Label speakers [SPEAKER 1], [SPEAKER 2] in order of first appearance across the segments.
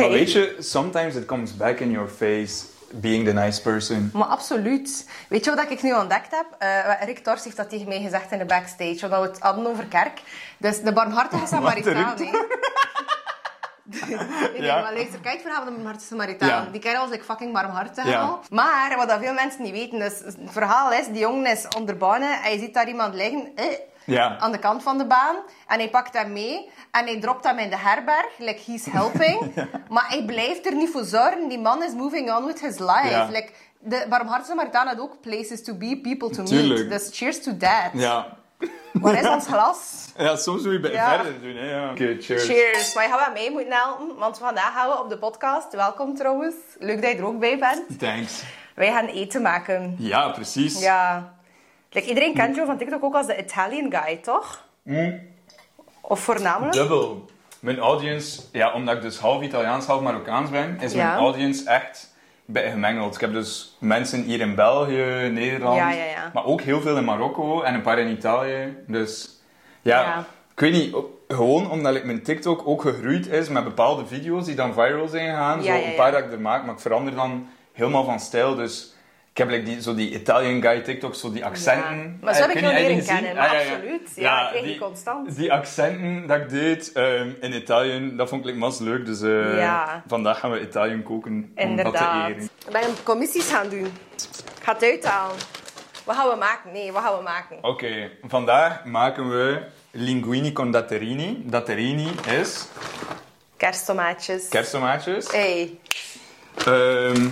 [SPEAKER 1] Maar weet je, sometimes it comes back in your face being the nice person.
[SPEAKER 2] Maar absoluut. Weet je wat ik nu ontdekt heb? Eh, Rick Tors heeft dat tegen mij gezegd in de backstage, omdat we het hadden over kerk. Dus de barmhartige Samaritaan. hè. Nee, nee,
[SPEAKER 1] Ja.
[SPEAKER 2] maar luister, kijk, verhaal van de barmhartige Samaritaan.
[SPEAKER 1] Ja.
[SPEAKER 2] Die kerel was like fucking barmhartig
[SPEAKER 1] Ja.
[SPEAKER 2] al. Maar wat dat veel mensen niet weten, is, het verhaal is, die jongen is onderbannen en je ziet daar iemand liggen eh,
[SPEAKER 1] Ja.
[SPEAKER 2] aan de kant van de baan. En hij pakt hem mee en hij dropt hem in de herberg, like he's helping. Maar hij blijft er niet voor zorgen. Die man is moving on with his life.
[SPEAKER 1] Ja.
[SPEAKER 2] Like, de barmhartige Samaritaan had ook places to be, people to meet.
[SPEAKER 1] Tuurlijk.
[SPEAKER 2] Dus cheers to that.
[SPEAKER 1] Ja.
[SPEAKER 2] Waar is ons glas?
[SPEAKER 1] Ja, soms moet je bij
[SPEAKER 2] Ja.
[SPEAKER 1] verder doen, hè. Ja. Oké, cheers.
[SPEAKER 2] Cheers. Maar je gaat wel mee moeten helpen, want vandaag gaan we op de podcast. Welkom trouwens. Leuk dat je er ook bij bent.
[SPEAKER 1] Thanks.
[SPEAKER 2] Wij gaan eten maken.
[SPEAKER 1] Ja, precies.
[SPEAKER 2] Ja. Like, iedereen kent jou van TikTok ook als de Italian guy, toch?
[SPEAKER 1] Mm.
[SPEAKER 2] Of voornamelijk?
[SPEAKER 1] Dubbel. Mijn audience, ja, omdat ik dus half Italiaans, half Marokkaans ben, is
[SPEAKER 2] Ja.
[SPEAKER 1] mijn audience echt bij gemengeld. Ik heb dus mensen hier in België, Nederland,
[SPEAKER 2] Ja, ja, ja.
[SPEAKER 1] maar ook heel veel in Marokko en een paar in Italië. Dus ja,
[SPEAKER 2] Ja.
[SPEAKER 1] ik weet niet, op- gewoon omdat ik mijn TikTok ook gegroeid is met bepaalde video's die dan viral zijn gegaan.
[SPEAKER 2] Ja,
[SPEAKER 1] zo
[SPEAKER 2] ja,
[SPEAKER 1] een
[SPEAKER 2] ja.
[SPEAKER 1] paar dat ik er maak, maar ik verander dan helemaal van stijl. Dus ik heb like die, zo die Italian guy TikTok, zo die accenten.
[SPEAKER 2] Ja. Maar zo
[SPEAKER 1] Eh,
[SPEAKER 2] heb ik
[SPEAKER 1] weet
[SPEAKER 2] jou
[SPEAKER 1] niet, heb je
[SPEAKER 2] leren
[SPEAKER 1] die
[SPEAKER 2] kennen,
[SPEAKER 1] gezien? Ah,
[SPEAKER 2] maar absoluut. Ja, ik kreeg die constant.
[SPEAKER 1] die accenten dat ik deed ehm, in Italië, dat vond ik like, mas leuk. Dus eh,
[SPEAKER 2] Ja.
[SPEAKER 1] vandaag gaan we Italië koken om dat
[SPEAKER 2] Inderdaad.
[SPEAKER 1] te eren.
[SPEAKER 2] We gaan commissies gaan doen. Ik ga het uithalen. Wat gaan we maken? Nee, wat gaan we maken?
[SPEAKER 1] Oké, vandaag maken we linguini con datterini. Datterini is
[SPEAKER 2] Kersttomaatjes.
[SPEAKER 1] kersttomaatjes.
[SPEAKER 2] Hey.
[SPEAKER 1] Ehm,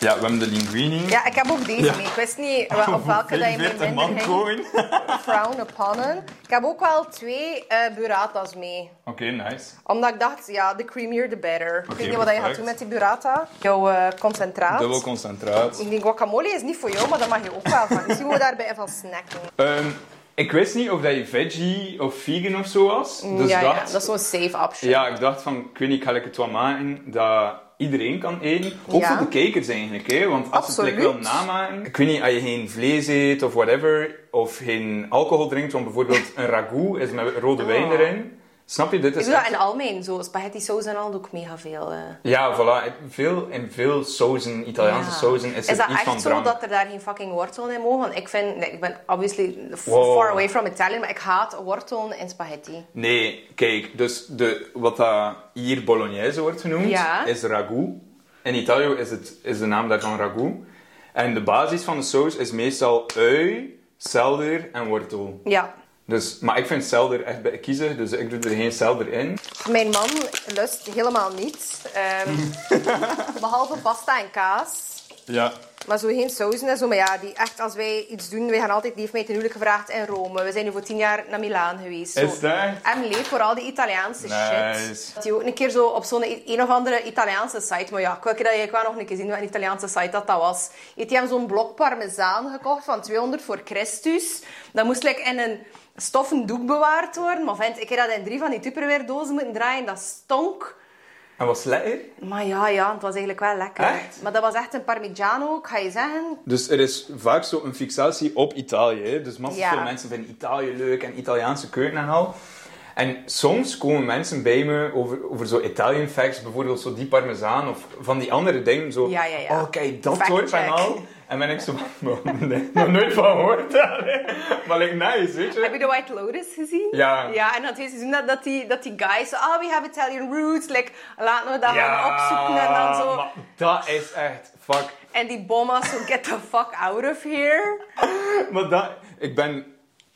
[SPEAKER 1] ja, we hebben de linguini.
[SPEAKER 2] Ja, ik heb ook deze
[SPEAKER 1] Ja.
[SPEAKER 2] mee. Ik wist niet eh, wa- op welke dat je mee
[SPEAKER 1] 45 man
[SPEAKER 2] minder ging.
[SPEAKER 1] koken.
[SPEAKER 2] Frown upon. it. Ik heb ook wel twee eh burrata's mee.
[SPEAKER 1] Oké, nice.
[SPEAKER 2] Omdat ik dacht, ja, the creamier the better. ik weet niet wat je gaat
[SPEAKER 1] perfect.
[SPEAKER 2] doen met die burrata. Jouw eh, concentraat.
[SPEAKER 1] Dubbel concentraat.
[SPEAKER 2] Die guacamole is niet voor jou, maar dat mag je ook wel van. Misschien moeten we daarbij even snacken.
[SPEAKER 1] Ehm, ik wist niet of dat je veggie of vegan of zo was. Dus
[SPEAKER 2] ja,
[SPEAKER 1] dat,
[SPEAKER 2] ja, dat is zo'n safe option.
[SPEAKER 1] Ja, ik dacht van, ik weet niet, ga ik het wel maken dat iedereen kan eten. Ook
[SPEAKER 2] Ja.
[SPEAKER 1] voor de kijkers eigenlijk, hè? want als ze het like,
[SPEAKER 2] Absoluut.
[SPEAKER 1] wil namaken... Ik weet niet, als je geen vlees eet of whatever, of geen alcohol drinkt, want bijvoorbeeld een ragout is met rode wijn
[SPEAKER 2] Oh.
[SPEAKER 1] erin. Snap je, dit
[SPEAKER 2] Ik
[SPEAKER 1] is
[SPEAKER 2] doe dat
[SPEAKER 1] echt...
[SPEAKER 2] in het algemeen, zo spaghetti saus en al doe ik mega veel. eh.
[SPEAKER 1] Ja, voilà. Veel, in veel sauzen, Italiaanse
[SPEAKER 2] Ja.
[SPEAKER 1] sauzen, is,
[SPEAKER 2] Is
[SPEAKER 1] het
[SPEAKER 2] dat
[SPEAKER 1] iets
[SPEAKER 2] echt
[SPEAKER 1] van
[SPEAKER 2] zo
[SPEAKER 1] drank.
[SPEAKER 2] dat er daar geen fucking wortelen in mogen? Want ik vind, nee, ik ben obviously f-
[SPEAKER 1] Wow.
[SPEAKER 2] far away from Italian, maar ik haat wortelen in spaghetti.
[SPEAKER 1] Nee, kijk, dus de, wat dat hier bolognese wordt genoemd,
[SPEAKER 2] Ja.
[SPEAKER 1] is ragout. In Italië is, het, is de naam daarvan ragout. En de basis van de saus is meestal ui, selder en wortel.
[SPEAKER 2] Ja.
[SPEAKER 1] Dus, maar ik vind selder echt bij kiezen, dus ik doe er geen selder in.
[SPEAKER 2] Mijn man lust helemaal niet. ehm, behalve pasta en kaas.
[SPEAKER 1] Ja.
[SPEAKER 2] Maar zo geen sausen en zo. Maar ja, die echt, als wij iets doen, wij gaan altijd, die heeft mij ten huwelijk gevraagd in Rome. We zijn nu voor tien jaar naar Milaan geweest. Zo.
[SPEAKER 1] Is dat echt?
[SPEAKER 2] En leef voor al die Italiaanse
[SPEAKER 1] Nice.
[SPEAKER 2] shit. Dat Die ook een keer zo op zo'n i- een of andere Italiaanse site. Maar ja, ik wil dat eigenlijk wel nog een keer zien wat een Italiaanse site dat dat was. Heeft die hem zo'n blok parmezaan gekocht van 200 voor Christus. Dat moest like, in een stoffen doek bewaard worden. Maar vent, ik heb dat in drie van die Tupperware dozen moeten draaien. Dat stonk.
[SPEAKER 1] En wat lekker?
[SPEAKER 2] Maar ja, ja, het was eigenlijk wel lekker.
[SPEAKER 1] Echt?
[SPEAKER 2] Maar dat was echt een parmigiano, ik ga je zeggen.
[SPEAKER 1] Dus er is vaak zo een fixatie op Italië. hè. Dus massa
[SPEAKER 2] Ja.
[SPEAKER 1] veel mensen vinden Italië leuk en Italiaanse keuken en al. En soms komen mensen bij me over, over zo Italian facts, bijvoorbeeld zo die parmezaan of van die andere dingen. Zo,
[SPEAKER 2] Ja, ja, ja.
[SPEAKER 1] oh kijk, dat
[SPEAKER 2] Fact
[SPEAKER 1] hoort en
[SPEAKER 2] check.
[SPEAKER 1] al. En ben ik zo van, nee, nog nooit van gehoord. maar like, nice, weet je.
[SPEAKER 2] Heb je de White Lotus gezien?
[SPEAKER 1] Ja.
[SPEAKER 2] Ja, en dat tweede seizoen dat, dat, die, dat die guys, zo, ah, we have Italian roots, like, laten we dat gaan opzoeken en dan zo.
[SPEAKER 1] maar dat is echt, fuck.
[SPEAKER 2] En die bomma zo, get the fuck out of here.
[SPEAKER 1] Maar dat, ik ben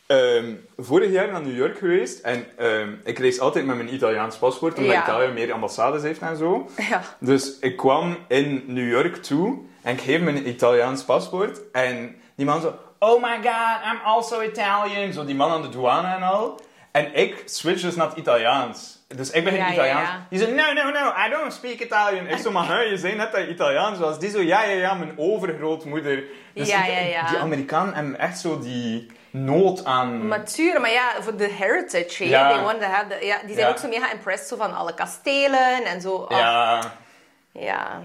[SPEAKER 1] ehm, vorig jaar naar New York geweest en ehm, ik reis altijd met mijn Italiaans paspoort, omdat
[SPEAKER 2] Ja.
[SPEAKER 1] Italië meer ambassades heeft en zo.
[SPEAKER 2] Ja.
[SPEAKER 1] Dus ik kwam in New York toe en ik geef mijn Italiaans paspoort en die man zo, oh my god, I'm also Italian. Zo die man aan de douane en al. En ik switch dus naar het Italiaans. Dus ik begin
[SPEAKER 2] Ja, ja,
[SPEAKER 1] Italiaans.
[SPEAKER 2] ja.
[SPEAKER 1] Die zei, no, no, no, I don't speak Italian. Ik zo, maar hè, je zei net dat je Italiaans was. Die zo, ja, ja, ja, mijn overgrootmoeder. Dus
[SPEAKER 2] Ja,
[SPEAKER 1] ik-
[SPEAKER 2] ja, ja.
[SPEAKER 1] Die Amerikanen hebben echt zo die nood aan...
[SPEAKER 2] Maar tuurlijk, maar ja, voor de heritage, hè.
[SPEAKER 1] Ja.
[SPEAKER 2] They want to have the- ja, die zijn
[SPEAKER 1] Ja.
[SPEAKER 2] ook zo mega impressed zo van alle kastelen en zo. Ah,
[SPEAKER 1] Ja,
[SPEAKER 2] ja.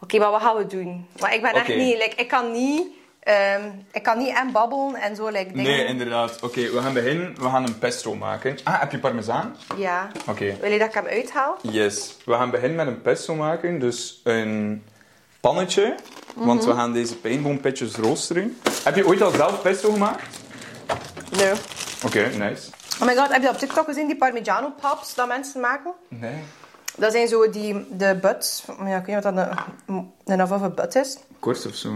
[SPEAKER 2] Oké, maar wat gaan we doen? Want ik ben echt
[SPEAKER 1] Oké.
[SPEAKER 2] niet, like, ik kan niet Ehm, ik kan niet en babbelen en zo like, dingen.
[SPEAKER 1] Nee, inderdaad. Oké, we gaan beginnen. We gaan een pesto maken. Ah, heb je parmezaan?
[SPEAKER 2] Ja.
[SPEAKER 1] Oké.
[SPEAKER 2] Wil je dat ik hem uithaal?
[SPEAKER 1] Yes. We gaan beginnen met een pesto maken. Dus een pannetje. Want
[SPEAKER 2] Mhm.
[SPEAKER 1] we gaan deze pijnboompitjes roosteren. Heb je ooit al zelf pesto gemaakt?
[SPEAKER 2] Nee.
[SPEAKER 1] Oké, nice.
[SPEAKER 2] Oh my god, heb je op TikTok gezien die parmigiano pops dat mensen maken?
[SPEAKER 1] Nee.
[SPEAKER 2] Dat zijn zo die, de buts. Ja, ik weet niet wat dat een, een of een but is.
[SPEAKER 1] Kort of zo.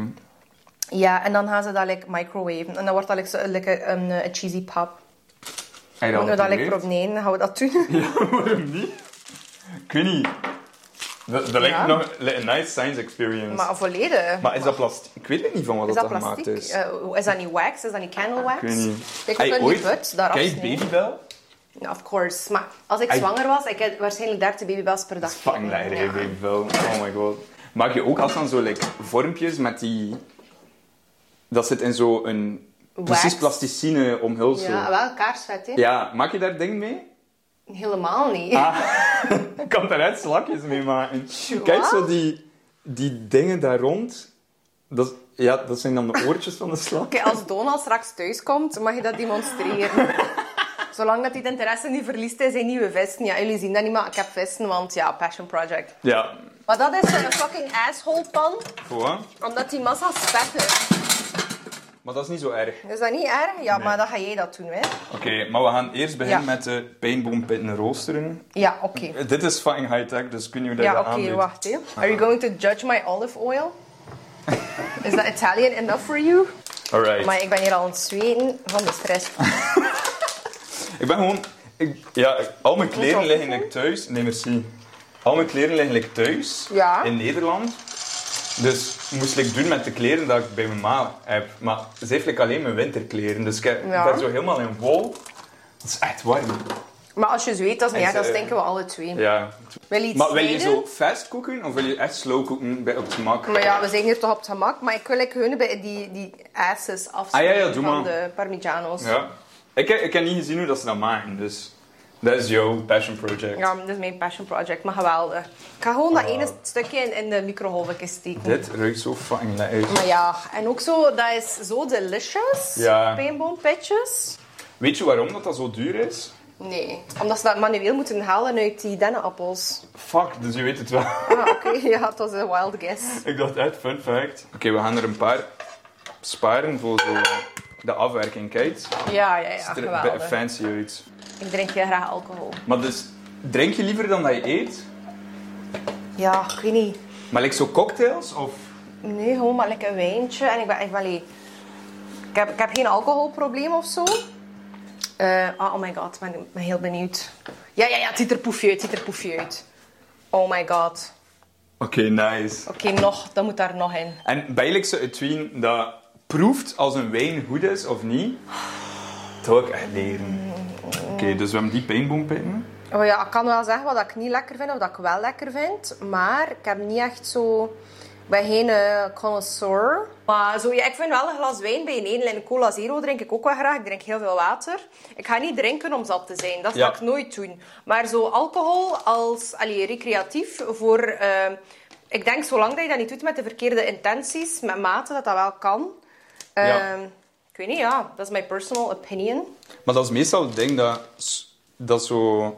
[SPEAKER 2] Ja, en dan gaan ze dat like microwaven. En dan wordt dat like, zo- like een, een, een cheesy pop.
[SPEAKER 1] Heb je dat al
[SPEAKER 2] Moeten we dat like
[SPEAKER 1] geprobeerd?
[SPEAKER 2] proberen? Gaan we dat doen?
[SPEAKER 1] Ja, waarom niet? Ik weet niet. Dat, dat
[SPEAKER 2] Ja.
[SPEAKER 1] lijkt nog li- een nice science experience. Maar,
[SPEAKER 2] Maar volledig.
[SPEAKER 1] is dat plastic? Ik weet het niet van wat
[SPEAKER 2] is
[SPEAKER 1] dat,
[SPEAKER 2] dat
[SPEAKER 1] gemaakt
[SPEAKER 2] plastic?
[SPEAKER 1] is.
[SPEAKER 2] Eh, is dat niet wax? Is dat niet candle wax?
[SPEAKER 1] ik weet niet.
[SPEAKER 2] Ik
[SPEAKER 1] Hey,
[SPEAKER 2] heb
[SPEAKER 1] ooit-
[SPEAKER 2] die but daar
[SPEAKER 1] Kijk,
[SPEAKER 2] afsnijden.
[SPEAKER 1] babybel?
[SPEAKER 2] Ja, of course. Maar als ik
[SPEAKER 1] Ai.
[SPEAKER 2] zwanger was, ik had waarschijnlijk 30 babybels per dag.
[SPEAKER 1] Fucking lekker,
[SPEAKER 2] Ja.
[SPEAKER 1] hè, babybel. Oh my god. Maak je ook als dan zo like, vormpjes met die... Dat zit in zo'n... Precies
[SPEAKER 2] Wax.
[SPEAKER 1] plasticine omhulsel.
[SPEAKER 2] Ja,
[SPEAKER 1] Ja,
[SPEAKER 2] wel kaarsvet, hè?
[SPEAKER 1] maak je daar ding mee? Ah,
[SPEAKER 2] Helemaal niet.
[SPEAKER 1] Ik kan daaruit slakjes mee maken. Kijk, zo die, die dingen daar rond. Dat, ja, dat zijn dan de oortjes van de slak.
[SPEAKER 2] Oké, als Donald straks thuis komt, mag je dat demonstreren. Zolang dat hij het interesse niet verliest in zijn nieuwe vesten. Ja, jullie zien dat niet, maar ik heb vesten, want ja, passion project.
[SPEAKER 1] Ja,
[SPEAKER 2] Maar dat is zo'n fucking asshole pan,
[SPEAKER 1] Goh.
[SPEAKER 2] omdat die massa's vet is.
[SPEAKER 1] Maar dat is niet zo erg.
[SPEAKER 2] Is dat niet erg? Ja, maar dan ga jij dat doen, hè?
[SPEAKER 1] Oké, maar we gaan eerst beginnen
[SPEAKER 2] Ja.
[SPEAKER 1] met de pijnboompitten roosteren.
[SPEAKER 2] Ja, oké.
[SPEAKER 1] Eh, Dit is fucking high-tech, dus kun je me daar
[SPEAKER 2] Ja,
[SPEAKER 1] aan
[SPEAKER 2] oké, wacht, hè.
[SPEAKER 1] Ah,
[SPEAKER 2] Are you going to judge my olive oil? Is that Italian enough for you?
[SPEAKER 1] Alright.
[SPEAKER 2] Maar ik ben hier al aan het zweten van de stress.
[SPEAKER 1] Ik ben gewoon... Ik, ja, ik- al mijn kleren
[SPEAKER 2] Moet je
[SPEAKER 1] liggen like, thuis. Nee, merci. Al mijn kleren liggen like, thuis.
[SPEAKER 2] Ja.
[SPEAKER 1] In Nederland. Dus moest ik doen met de kleren dat ik bij mijn ma heb. Maar ze heeft like, alleen mijn winterkleren. Dus ik heb-
[SPEAKER 2] Ja.
[SPEAKER 1] ik ben zo helemaal in wol. Dat is echt warm.
[SPEAKER 2] Maar als je zweet, dat is niet
[SPEAKER 1] En
[SPEAKER 2] erg, dat
[SPEAKER 1] ze-
[SPEAKER 2] stinken we alle twee.
[SPEAKER 1] Ja.
[SPEAKER 2] Wil je iets
[SPEAKER 1] Maar wil je
[SPEAKER 2] snijden?
[SPEAKER 1] zo fast koken of wil je echt slow koken bij- op het gemak?
[SPEAKER 2] Maar ja, we zijn hier toch op het gemak. Maar ik wil like, hun bij die, die asses afsnijden
[SPEAKER 1] Ah, ja, ja, doe
[SPEAKER 2] van
[SPEAKER 1] maar.
[SPEAKER 2] de parmigianos. Ja.
[SPEAKER 1] Ja. Ik, heb- ik heb niet gezien hoe dat ze dat maken, dus... Dat is jouw passion project.
[SPEAKER 2] dat is mijn passion project, maar geweldig. Ik ga gewoon dat
[SPEAKER 1] Wow.
[SPEAKER 2] ene stukje in, in de microgolfje steken.
[SPEAKER 1] Dit ruikt zo fucking lekker.
[SPEAKER 2] Maar ja, en ook zo, dat is zo delicious.
[SPEAKER 1] Ja.
[SPEAKER 2] Pijnboompetjes.
[SPEAKER 1] Weet je waarom dat, dat zo duur is?
[SPEAKER 2] Nee, omdat ze dat manueel moeten halen uit die dennenappels.
[SPEAKER 1] Fuck, dus je weet het wel.
[SPEAKER 2] Ah, oké. ja, dat was een wild guess.
[SPEAKER 1] ik dacht echt, fun fact. Oké, we gaan er een paar sparen voor zo de afwerking. Kijk, het
[SPEAKER 2] Ja, ja, ja,
[SPEAKER 1] ziet er een beetje
[SPEAKER 2] geweldig.
[SPEAKER 1] fancy uit.
[SPEAKER 2] Ik drink heel graag alcohol.
[SPEAKER 1] Maar dus, drink je liever dan dat je eet?
[SPEAKER 2] Ja, ik weet niet.
[SPEAKER 1] Maar like zo cocktails of...
[SPEAKER 2] Nee, gewoon maar lekker een wijntje. En ik ben echt wel... Ik heb, ik heb geen alcoholprobleem of zo. Eh, ah, oh my god, ik ben, ik ben heel benieuwd. Ja, ja, ja, het ziet er poefje uit, het ziet er poefje uit. Oh my god.
[SPEAKER 1] Oké, nice.
[SPEAKER 2] Oké, nog, dat moet daar nog in.
[SPEAKER 1] En bijlijk ze het wien dat proeft als een wijn goed is of niet, dat wil ik echt leren. Oké, dus we hebben die pijnboompitten.
[SPEAKER 2] Oh ja, ik kan wel zeggen wat ik niet lekker vind of dat ik wel lekker vind. Maar ik heb niet echt zo... Ik ben geen eh, connoisseur. Maar zo, ja, ik vind wel een glas wijn bij een edel en een cola zero drink ik ook wel graag. Ik drink heel veel water. Ik ga niet drinken om zat te zijn. Dat
[SPEAKER 1] Ja.
[SPEAKER 2] ga ik nooit doen. Maar zo alcohol als allee, recreatief voor... eh, ik denk, zolang dat je dat niet doet met de verkeerde intenties, met mate, dat dat wel kan.
[SPEAKER 1] Ja.
[SPEAKER 2] Ehm, Ik weet niet, ja. Dat is mijn personal opinion.
[SPEAKER 1] Maar dat is meestal het ding dat, s- dat zo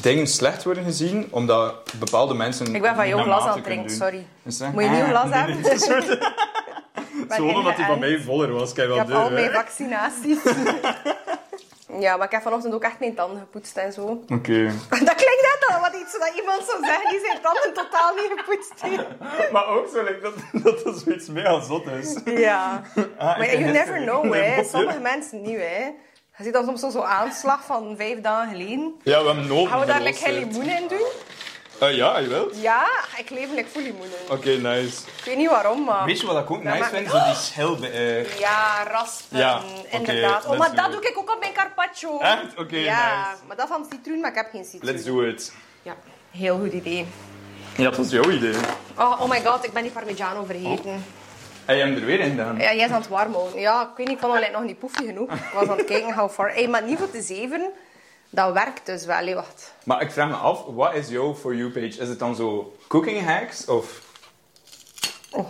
[SPEAKER 1] dingen slecht worden gezien, omdat bepaalde mensen.
[SPEAKER 2] Ik ben van jouw
[SPEAKER 1] naar
[SPEAKER 2] glas
[SPEAKER 1] mate
[SPEAKER 2] aan het
[SPEAKER 1] kunnen
[SPEAKER 2] drinken,
[SPEAKER 1] doen.
[SPEAKER 2] sorry.
[SPEAKER 1] Is dat?
[SPEAKER 2] Moet je een nieuw
[SPEAKER 1] Ah,
[SPEAKER 2] glas
[SPEAKER 1] nee,
[SPEAKER 2] hebben?
[SPEAKER 1] nee, sorry.
[SPEAKER 2] Ik ben
[SPEAKER 1] Gewoon omdat die van
[SPEAKER 2] ingeënt.
[SPEAKER 1] mij voller was, kijk wel
[SPEAKER 2] Ik heb
[SPEAKER 1] deur,
[SPEAKER 2] al mijn
[SPEAKER 1] hè.
[SPEAKER 2] vaccinaties. ja, maar ik heb vanochtend ook echt mijn tanden gepoetst en zo.
[SPEAKER 1] Oké.
[SPEAKER 2] Dat klinkt net al wat iets dat iemand zou zeggen die zijn tanden totaal niet gepoetst heeft.
[SPEAKER 1] Maar ook zo lijkt dat, dat dat zoiets mega zot is.
[SPEAKER 2] Ja.
[SPEAKER 1] Ah,
[SPEAKER 2] Maar
[SPEAKER 1] ik-
[SPEAKER 2] you never know, hè.
[SPEAKER 1] Ja.
[SPEAKER 2] Sommige mensen niet, hè. Je ziet dan soms zo'n aanslag van vijf dagen geleden.
[SPEAKER 1] Ja, we hebben nood.
[SPEAKER 2] Gaan we daar lekker geen limoen in doen?
[SPEAKER 1] Eh, ja, je wilt. Oké,
[SPEAKER 2] Ja, ik leef lekker vol limoen in.
[SPEAKER 1] nice.
[SPEAKER 2] Ik weet niet waarom, maar...
[SPEAKER 1] Weet je wat ik ook
[SPEAKER 2] Ja,
[SPEAKER 1] nice
[SPEAKER 2] maar-
[SPEAKER 1] vind? Zo die schilden. eh.
[SPEAKER 2] Ja, raspen,
[SPEAKER 1] Ja,
[SPEAKER 2] inderdaad.
[SPEAKER 1] oké,
[SPEAKER 2] oh, maar
[SPEAKER 1] let's
[SPEAKER 2] dat
[SPEAKER 1] do it.
[SPEAKER 2] doe ik ook op mijn carpaccio.
[SPEAKER 1] Echt? Oké,
[SPEAKER 2] Ja,
[SPEAKER 1] nice.
[SPEAKER 2] maar dat van citroen, maar ik heb geen citroen.
[SPEAKER 1] Let's do it.
[SPEAKER 2] Ja, heel goed idee.
[SPEAKER 1] Ja, dat was jouw idee.
[SPEAKER 2] Oh, oh my god, ik ben die parmigiano vergeten.
[SPEAKER 1] En je hebt hem er weer in gedaan.
[SPEAKER 2] Oh. Ja, jij is aan het warm houden. Ja, ik weet niet, ik vond hem lijkt nog niet poefje genoeg. Ik was aan het kijken how far. Hey, maar niet voor de zeven, dat werkt dus wel. hè, wacht.
[SPEAKER 1] Maar ik vraag me af, wat is jouw For You page? Is het dan zo cooking hacks of...
[SPEAKER 2] Oh.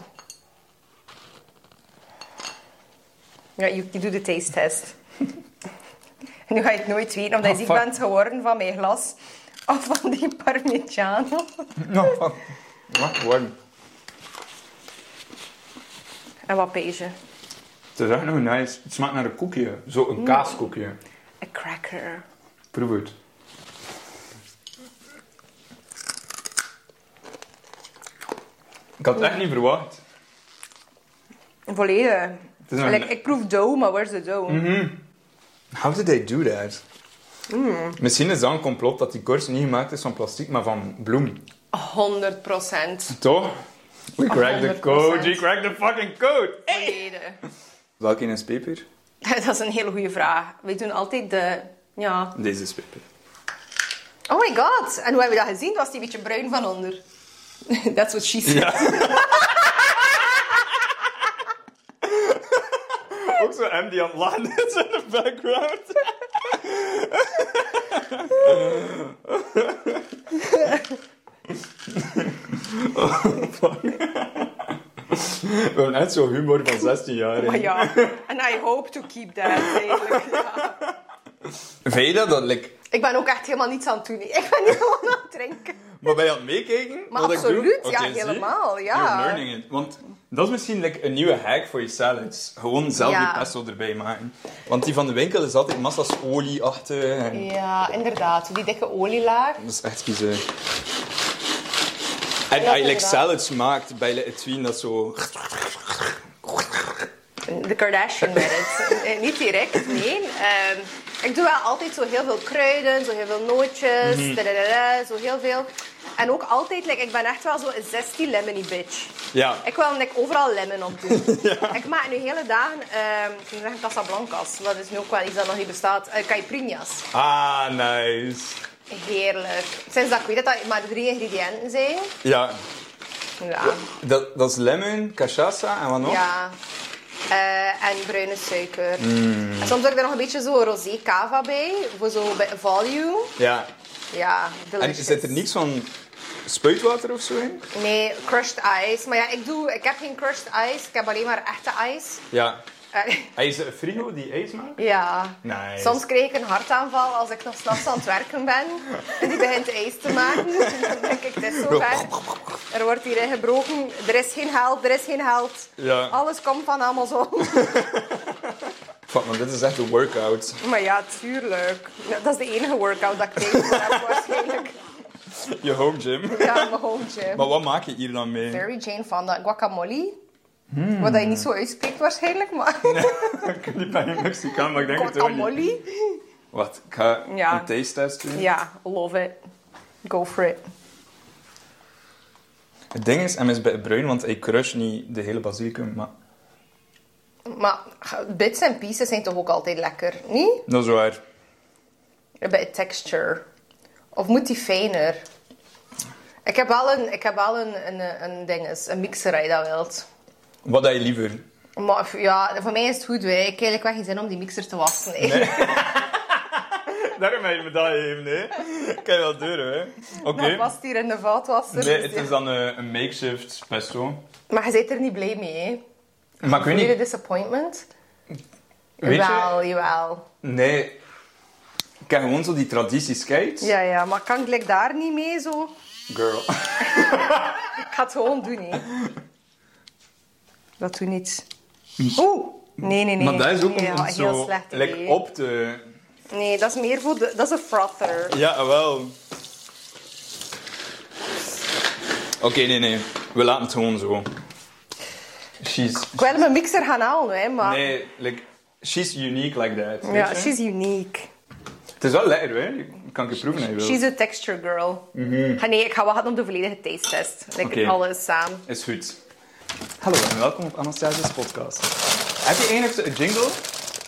[SPEAKER 2] Ja, je, je doet de taste test. En nu ga je het nooit weten, omdat je
[SPEAKER 1] Ah,
[SPEAKER 2] ziek
[SPEAKER 1] fuck.
[SPEAKER 2] bent geworden van mijn glas. Of van die parmigiano.
[SPEAKER 1] Nou, van. Wacht, warm.
[SPEAKER 2] En wat beige.
[SPEAKER 1] Het is echt nog oh, nice. Het smaakt naar een koekje. Zo een kaaskoekje.
[SPEAKER 2] Een cracker.
[SPEAKER 1] Proef het. Ik had het echt niet verwacht.
[SPEAKER 2] Volledig.
[SPEAKER 1] is een- Mhm.
[SPEAKER 2] Like, ik proef dough, maar where's the dough?
[SPEAKER 1] How did they do that? Misschien is dat een complot dat die korst niet gemaakt is van plastic, maar van bloem.
[SPEAKER 2] 100 procent.
[SPEAKER 1] Toch? We cracked the
[SPEAKER 2] 100%.
[SPEAKER 1] code, we cracked the fucking code!
[SPEAKER 2] Volledig.
[SPEAKER 1] Welke is peper?
[SPEAKER 2] Dat is een hele goede vraag. Wij doen altijd de... Ja.
[SPEAKER 1] Deze is peper.
[SPEAKER 2] Oh my god. En hoe hebben we dat gezien? Het was die beetje bruin van onder. That's what she said.
[SPEAKER 1] Ook zo M die aan het lachen is in de background. Oh, fuck. We hebben net zo'n humor van 16 jaar.
[SPEAKER 2] Maar ja. And I hope to keep that, eigenlijk. Ja.
[SPEAKER 1] Vind je dat? dat like,
[SPEAKER 2] Ik ben ook echt helemaal niets aan het doen. hè. Ik ben niet gewoon aan het drinken.
[SPEAKER 1] maar ben je aan het meekijken?
[SPEAKER 2] Maar
[SPEAKER 1] wat ik doe?
[SPEAKER 2] absoluut,
[SPEAKER 1] Oké,
[SPEAKER 2] ja,
[SPEAKER 1] zie.
[SPEAKER 2] helemaal, ja.
[SPEAKER 1] You're learning it. Want dat is misschien like, een nieuwe hack voor je salads. Gewoon zelf
[SPEAKER 2] Ja.
[SPEAKER 1] je pesto erbij maken. Want die van de winkel is altijd massa's olie achter. En...
[SPEAKER 2] Ja, inderdaad. Die dikke olielaag.
[SPEAKER 1] Dat is echt bizar. En
[SPEAKER 2] Ja,
[SPEAKER 1] als je like,
[SPEAKER 2] inderdaad.
[SPEAKER 1] salads maakt bij Le Etui, dat is zo...
[SPEAKER 2] De Kardashian werd het. Niet direct, nee. Ehm, ik doe wel altijd zo heel veel kruiden, zo heel veel nootjes, dadadada, zo heel veel. En ook altijd, like, ik ben echt wel zo een 16 lemony bitch.
[SPEAKER 1] Ja.
[SPEAKER 2] Ik wil like, overal lemon op doen. Ik maak nu hele dagen, ehm ik ging zeggen Casablancas, dat is nu ook wel iets dat nog niet bestaat. Eh caipirinhas.
[SPEAKER 1] Ah, nice.
[SPEAKER 2] Heerlijk. Sinds dat ik weet dat dat maar drie ingrediënten zijn.
[SPEAKER 1] Ja,
[SPEAKER 2] Ja.
[SPEAKER 1] dat, dat is lemon, cachaça en wat nog?
[SPEAKER 2] Ja. Eh, en bruine suiker.
[SPEAKER 1] Mm.
[SPEAKER 2] En soms doe ik er nog een beetje zo rosé cava bij, voor zo bij volume.
[SPEAKER 1] Ja.
[SPEAKER 2] Ja,
[SPEAKER 1] En
[SPEAKER 2] delicious.
[SPEAKER 1] zit er niks van spuitwater of zo in?
[SPEAKER 2] Nee, crushed ice. Maar ja, ik, doe, ik heb geen crushed ice, ik heb alleen maar echte ice.
[SPEAKER 1] Ja.
[SPEAKER 2] Eh,
[SPEAKER 1] Hij is een frigo die ijs maakt?
[SPEAKER 2] ja.
[SPEAKER 1] Nice.
[SPEAKER 2] Soms kreeg ik een hartaanval als ik nog s'nachts aan het werken ben. En die begint ijs te maken. Dus Dan denk ik, het is zover. Er wordt hier ingebroken. Er is geen help, er is geen help.
[SPEAKER 1] Ja.
[SPEAKER 2] Alles komt van Amazon.
[SPEAKER 1] Fuck man, dit is echt een workout.
[SPEAKER 2] Maar ja, tuurlijk. Ja, Dat is de enige workout dat ik tijd voor heb waarschijnlijk.
[SPEAKER 1] Je home gym.
[SPEAKER 2] Ja, mijn hondje.
[SPEAKER 1] Maar wat maak je hier dan mee?
[SPEAKER 2] Mary Jane Fonda, guacamole. Wat dat je niet zo uitspreekt waarschijnlijk, maar...
[SPEAKER 1] Hmm. Ik ben niet bij een Mexicaan, maar ik denk het ook niet.
[SPEAKER 2] Guacamole?
[SPEAKER 1] Wat? Ik ga
[SPEAKER 2] Ja.
[SPEAKER 1] een taste test doen.
[SPEAKER 2] Ja, love it. Go for it.
[SPEAKER 1] Het ding is, hem is bij bruin, want ik crush niet de hele basilicum, maar...
[SPEAKER 2] Maar bits en pieces zijn toch ook altijd lekker, niet?
[SPEAKER 1] Dat is waar.
[SPEAKER 2] Bij het texture. Of moet die fijner? Ik heb wel een, ik heb wel een, een, een dinges, een mixer als je dat wilt.
[SPEAKER 1] Wat had je liever?
[SPEAKER 2] Maar ja, voor mij is het goed. hè. Ik heb eigenlijk wel geen zin om die mixer te wassen. hè.
[SPEAKER 1] Daarom heb je me dat gegeven, hè? Kan je wel deuren, hè? Oké.
[SPEAKER 2] Dat past hier in de vaatwasser.
[SPEAKER 1] Nee,
[SPEAKER 2] dus
[SPEAKER 1] het
[SPEAKER 2] ja.
[SPEAKER 1] is dan eh, een makeshift pesto.
[SPEAKER 2] Maar je bent er niet blij mee, hè?
[SPEAKER 1] Maar ik weet
[SPEAKER 2] Jullie
[SPEAKER 1] niet...
[SPEAKER 2] disappointment?
[SPEAKER 1] Weet je?
[SPEAKER 2] jawel, jawel.
[SPEAKER 1] Nee. Ik heb gewoon zo die tradities, kijk.
[SPEAKER 2] Ja, ja, maar kan ik like, daar niet mee zo?
[SPEAKER 1] Girl.
[SPEAKER 2] Ik ga het gewoon doen, hè. Dat doet niets. Oeh! Nee, nee, nee.
[SPEAKER 1] Hm. Maar dat is ook om
[SPEAKER 2] Ja,
[SPEAKER 1] het
[SPEAKER 2] heel
[SPEAKER 1] zo
[SPEAKER 2] slecht
[SPEAKER 1] lekker
[SPEAKER 2] idee.
[SPEAKER 1] op te...
[SPEAKER 2] Nee, dat is meer voor de... Dat is een frother.
[SPEAKER 1] Ja, ah, wel. Oké, nee, nee. We laten het gewoon zo. She's...
[SPEAKER 2] Ik wil mijn mixer gaan halen, hè, maar...
[SPEAKER 1] Nee, like... She's unique like that. weet
[SPEAKER 2] ja,
[SPEAKER 1] je?
[SPEAKER 2] she's unique.
[SPEAKER 1] Het is wel lekker, hè? Je kan het proeven als je wil.
[SPEAKER 2] She's a texture girl. Ah, nee, ik ga wachten op de volledige taste test. Like,
[SPEAKER 1] Mhm. Oké.
[SPEAKER 2] alles samen.
[SPEAKER 1] Is goed. Hallo en welkom op Anastasia's podcast. Heb je enigszins een jingle?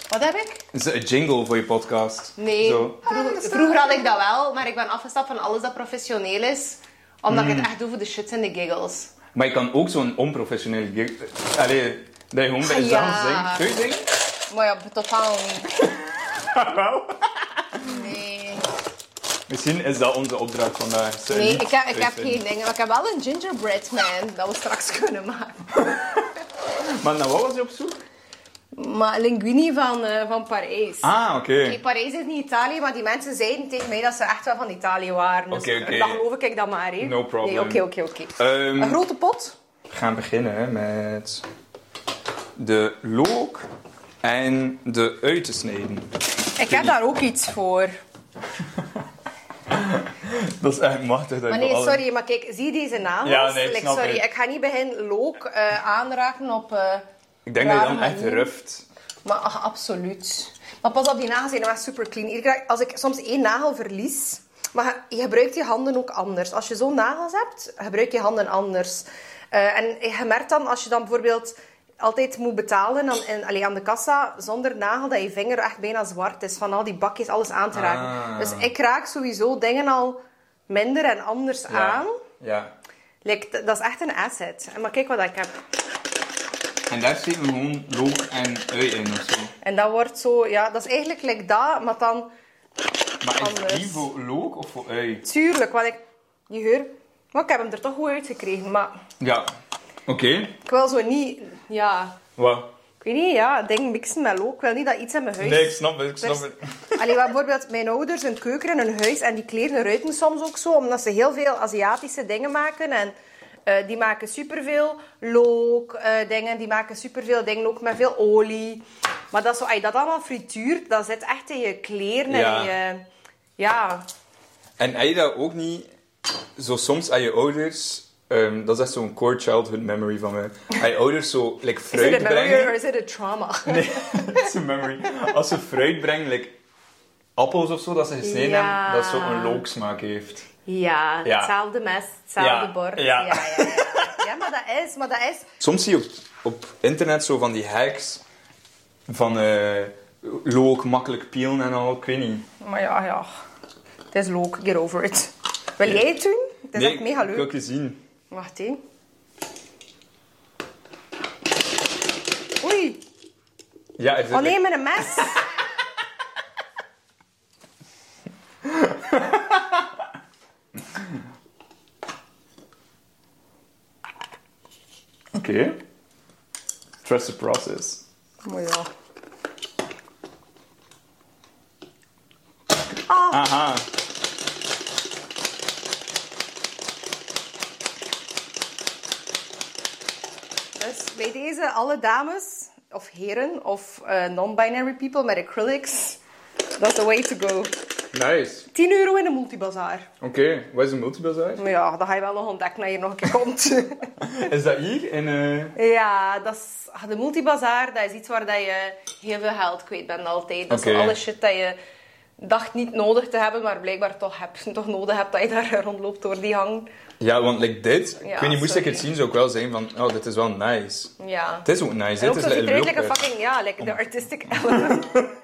[SPEAKER 2] Wat heb ik?
[SPEAKER 1] Is er een jingle voor je podcast?
[SPEAKER 2] Nee,
[SPEAKER 1] Zo.
[SPEAKER 2] Vroeg- vroeger had ik Ah, dat wel, maar ik ben afgestapt van alles dat professioneel is. Omdat
[SPEAKER 1] Mhm.
[SPEAKER 2] ik het echt doe voor de shits en de giggles.
[SPEAKER 1] Maar je kan ook zo'n onprofessioneel jingle... Allee, dat je gewoon bij jezelf
[SPEAKER 2] Ah, Ja.
[SPEAKER 1] zingt. Kun je zingen?
[SPEAKER 2] Maar ja, totaal niet.
[SPEAKER 1] Wel.
[SPEAKER 2] Nee,
[SPEAKER 1] Misschien is dat onze opdracht vandaag. Zou je
[SPEAKER 2] nee
[SPEAKER 1] niet
[SPEAKER 2] ik, heb, ik heb
[SPEAKER 1] weten.
[SPEAKER 2] geen dingen. Maar ik heb wel een gingerbread man dat we straks kunnen maken.
[SPEAKER 1] nou, Maar naar wat was je op zoek?
[SPEAKER 2] Maar linguini van, eh, van Parijs.
[SPEAKER 1] Ah, oké.
[SPEAKER 2] Oké, Parijs is niet Italië, maar die mensen zeiden tegen mij dat ze echt wel van Italië waren. Dus
[SPEAKER 1] Oké, oké.
[SPEAKER 2] dan geloof ik dat maar. Hè.
[SPEAKER 1] No problem.
[SPEAKER 2] Nee, Oké, oké, oké.
[SPEAKER 1] Ehm,
[SPEAKER 2] Een grote pot.
[SPEAKER 1] we gaan beginnen hè, met de look en de ui te snijden.
[SPEAKER 2] Ik heb daar ook iets voor.
[SPEAKER 1] Dat is echt machtig. Dat
[SPEAKER 2] Maar nee, sorry, maar kijk, zie deze nagels?
[SPEAKER 1] Ja, nee, ik
[SPEAKER 2] Like,
[SPEAKER 1] snap
[SPEAKER 2] sorry,
[SPEAKER 1] het.
[SPEAKER 2] ik ga niet begin look eh, aanraken op... eh,
[SPEAKER 1] Ik denk dat je dan
[SPEAKER 2] Waarom
[SPEAKER 1] echt
[SPEAKER 2] niet?
[SPEAKER 1] ruft.
[SPEAKER 2] maar ach, absoluut. Maar pas op, die nagels zijn wel super clean. Iedere keer Als ik soms één nagel verlies... Maar je gebruikt je handen ook anders. Als je zo'n nagels hebt, gebruik je handen anders. Eh, en je merkt dan, als je dan bijvoorbeeld altijd moet betalen dan, en, allee, aan de kassa zonder nagel, dat je vinger echt bijna zwart is van al die bakjes, alles aan te raken.
[SPEAKER 1] Ah.
[SPEAKER 2] Dus ik raak sowieso dingen al minder en anders aan.
[SPEAKER 1] Ja.
[SPEAKER 2] Like, d- dat is echt een asset. En Maar kijk wat ik heb.
[SPEAKER 1] En daar zitten gewoon look en ui in of zo.
[SPEAKER 2] En dat wordt zo, ja, dat is eigenlijk like dat, maar dan
[SPEAKER 1] Maar is
[SPEAKER 2] Anders.
[SPEAKER 1] die voor look of voor ui?
[SPEAKER 2] tuurlijk, want ik, je geur, maar ik heb hem er toch goed uitgekregen. Maar
[SPEAKER 1] Ja. Oké.
[SPEAKER 2] ik wil zo niet, ja,
[SPEAKER 1] Wat?
[SPEAKER 2] ik weet niet, ja, dingen mixen met look. Ik wil niet dat iets in mijn huis.
[SPEAKER 1] Nee, ik snap het. Ik snap
[SPEAKER 2] Vers-
[SPEAKER 1] het.
[SPEAKER 2] Allee, wat bijvoorbeeld mijn ouders een keuken en een huis en die kleren ruiken soms ook zo, omdat ze heel veel Aziatische dingen maken en eh, die maken superveel look eh, dingen, die maken superveel dingen ook met veel olie. Maar dat is zo, als je dat allemaal frituurt, dat zit echt in je kleren
[SPEAKER 1] Ja.
[SPEAKER 2] en in je... Ja,
[SPEAKER 1] En heb je dat ook niet zo soms aan je ouders... ehm, dat is echt zo'n core childhood memory van mij. Aan je ouders zo like,
[SPEAKER 2] is het
[SPEAKER 1] fruit
[SPEAKER 2] een memory
[SPEAKER 1] brengen...
[SPEAKER 2] or is het een trauma?
[SPEAKER 1] Nee, dat is een memory. Als ze fruit brengen, like, appels of zo, dat ze gesneden
[SPEAKER 2] Ja.
[SPEAKER 1] hebben, dat zo een looksmaak heeft.
[SPEAKER 2] Ja,
[SPEAKER 1] Ja.
[SPEAKER 2] hetzelfde mes, hetzelfde
[SPEAKER 1] Ja,
[SPEAKER 2] bord.
[SPEAKER 1] ja.
[SPEAKER 2] Ja. Ja, ja, ja. Ja, maar dat is, maar dat is...
[SPEAKER 1] Soms zie je op, op internet zo van die hacks van eh look makkelijk peelen en al, ik weet niet.
[SPEAKER 2] Maar ja, ja. Het is look, get over it. Wil jij het doen? Het is echt mega
[SPEAKER 1] ik
[SPEAKER 2] leuk.
[SPEAKER 1] wil je zien.
[SPEAKER 2] Wacht hé. Oei,
[SPEAKER 1] Ja, er zit
[SPEAKER 2] oh nee, met een mes.
[SPEAKER 1] Oké. Trust the process.
[SPEAKER 2] Maar ja. Ah,
[SPEAKER 1] Aha.
[SPEAKER 2] dus bij deze alle dames, of heren, of eh, non-binary people met acrylics. That's the way to go.
[SPEAKER 1] Nice.
[SPEAKER 2] 10 euro in de multibazaar.
[SPEAKER 1] Oké, wat is een multibazaar?
[SPEAKER 2] Maar ja, dat ga je wel nog ontdekken als je nog een keer komt.
[SPEAKER 1] Is dat hier? In, eh,
[SPEAKER 2] ja, dat is, ah, de multibazaar, dat is iets waar dat je heel veel geld kwijt bent altijd. Dat is
[SPEAKER 1] Oké.
[SPEAKER 2] zo alle shit dat je dacht niet nodig te hebben, maar blijkbaar toch, hebt, toch nodig hebt dat je daar rondloopt door die hang.
[SPEAKER 1] Ja, want like dit,
[SPEAKER 2] Ja,
[SPEAKER 1] ik weet niet, moest ik
[SPEAKER 2] sorry.
[SPEAKER 1] het zien, zou ik wel zeggen van, oh, dit is wel nice.
[SPEAKER 2] Ja.
[SPEAKER 1] Het is ook nice,
[SPEAKER 2] En
[SPEAKER 1] dit
[SPEAKER 2] ook
[SPEAKER 1] is
[SPEAKER 2] zo ziet
[SPEAKER 1] lekker
[SPEAKER 2] er eigenlijk een fucking, ja, like de artistic element. Oké.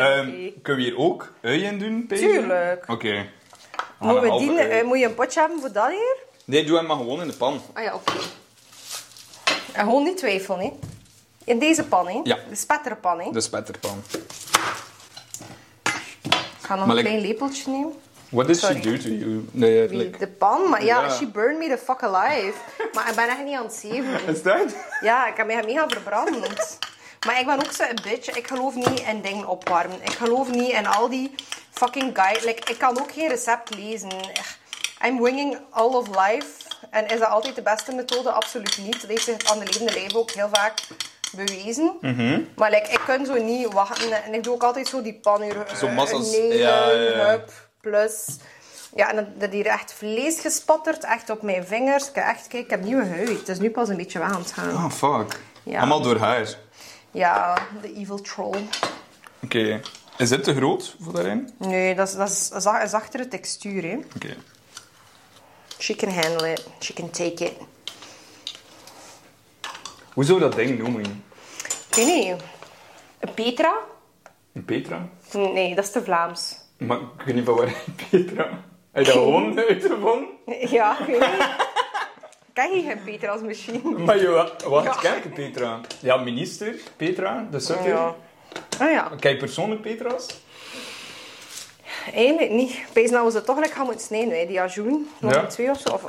[SPEAKER 1] Ehm, Kunnen Ehm, we hier ook ui in doen, Peter?
[SPEAKER 2] Tuurlijk.
[SPEAKER 1] Oké. We gaan
[SPEAKER 2] Moet,
[SPEAKER 1] een
[SPEAKER 2] we
[SPEAKER 1] halve
[SPEAKER 2] die,
[SPEAKER 1] ui.
[SPEAKER 2] eh, moet je een potje hebben voor dat hier?
[SPEAKER 1] Nee, doe hem maar gewoon in de pan.
[SPEAKER 2] Ah ja, oké. En gewoon niet twijfelen, hè. In deze pan, hè.
[SPEAKER 1] Ja.
[SPEAKER 2] De spetterpan, hè.
[SPEAKER 1] De spetterpan.
[SPEAKER 2] Ik ga nog
[SPEAKER 1] Maar
[SPEAKER 2] een
[SPEAKER 1] like-
[SPEAKER 2] klein lepeltje nemen.
[SPEAKER 1] What did
[SPEAKER 2] Sorry.
[SPEAKER 1] she do to you? Nee,
[SPEAKER 2] Wie?
[SPEAKER 1] like...
[SPEAKER 2] De pan? Maar ja,
[SPEAKER 1] Ja.
[SPEAKER 2] she burned me the fuck alive. Maar ik ben echt niet aan het zeven.
[SPEAKER 1] Is dat?
[SPEAKER 2] Ja, ik heb me mega verbrand. Maar ik ben ook zo'n bitch. Ik geloof niet in dingen opwarmen. Ik geloof niet in al die fucking guide. Like, ik kan ook geen recept lezen. Echt. I'm winging all of life. En is dat altijd de beste methode? Absoluut niet. Dat heeft zich aan de levende lijf ook heel vaak bewezen.
[SPEAKER 1] Mhm.
[SPEAKER 2] Maar like, ik kan zo niet wachten. En ik doe ook altijd zo die pan hier.
[SPEAKER 1] Zo
[SPEAKER 2] eh,
[SPEAKER 1] massas.
[SPEAKER 2] nemen,
[SPEAKER 1] Ja, ja, ja.
[SPEAKER 2] hup, plus. Ja, en dat- dat hier echt vlees gespatterd. Echt op mijn vingers. Kijk, echt, kijk, ik heb nieuwe huid. Het is nu pas een beetje weg aan het gaan.
[SPEAKER 1] Oh, fuck.
[SPEAKER 2] Ja.
[SPEAKER 1] Allemaal door haar.
[SPEAKER 2] Ja, de evil troll.
[SPEAKER 1] Oké. Is dit te groot voor daarin?
[SPEAKER 2] Nee, dat is, dat is za- een zachtere textuur, hè.
[SPEAKER 1] Oké.
[SPEAKER 2] She can handle it. She can take it.
[SPEAKER 1] Hoe zou dat ding noemen?
[SPEAKER 2] Ik weet niet. Petra?
[SPEAKER 1] Een Petra?
[SPEAKER 2] Nee, dat is te Vlaams.
[SPEAKER 1] Maar ik weet niet van waar Petra... Heb je dat gewoon uitgevonden?
[SPEAKER 2] Ja, ik weet niet. Ken je geen Petra's machine?
[SPEAKER 1] Maar je wat
[SPEAKER 2] Ja.
[SPEAKER 1] kijken, Petra? Ja, minister Petra, de sutter.
[SPEAKER 2] Ja. Ah ja,
[SPEAKER 1] Kijk persoonlijk Petra's?
[SPEAKER 2] eigenlijk niet. Ik Wees nou, we ze toch lekker gaan moeten snijden, hè. die ajoen. Nog
[SPEAKER 1] Ja.
[SPEAKER 2] een twee of zo. Of,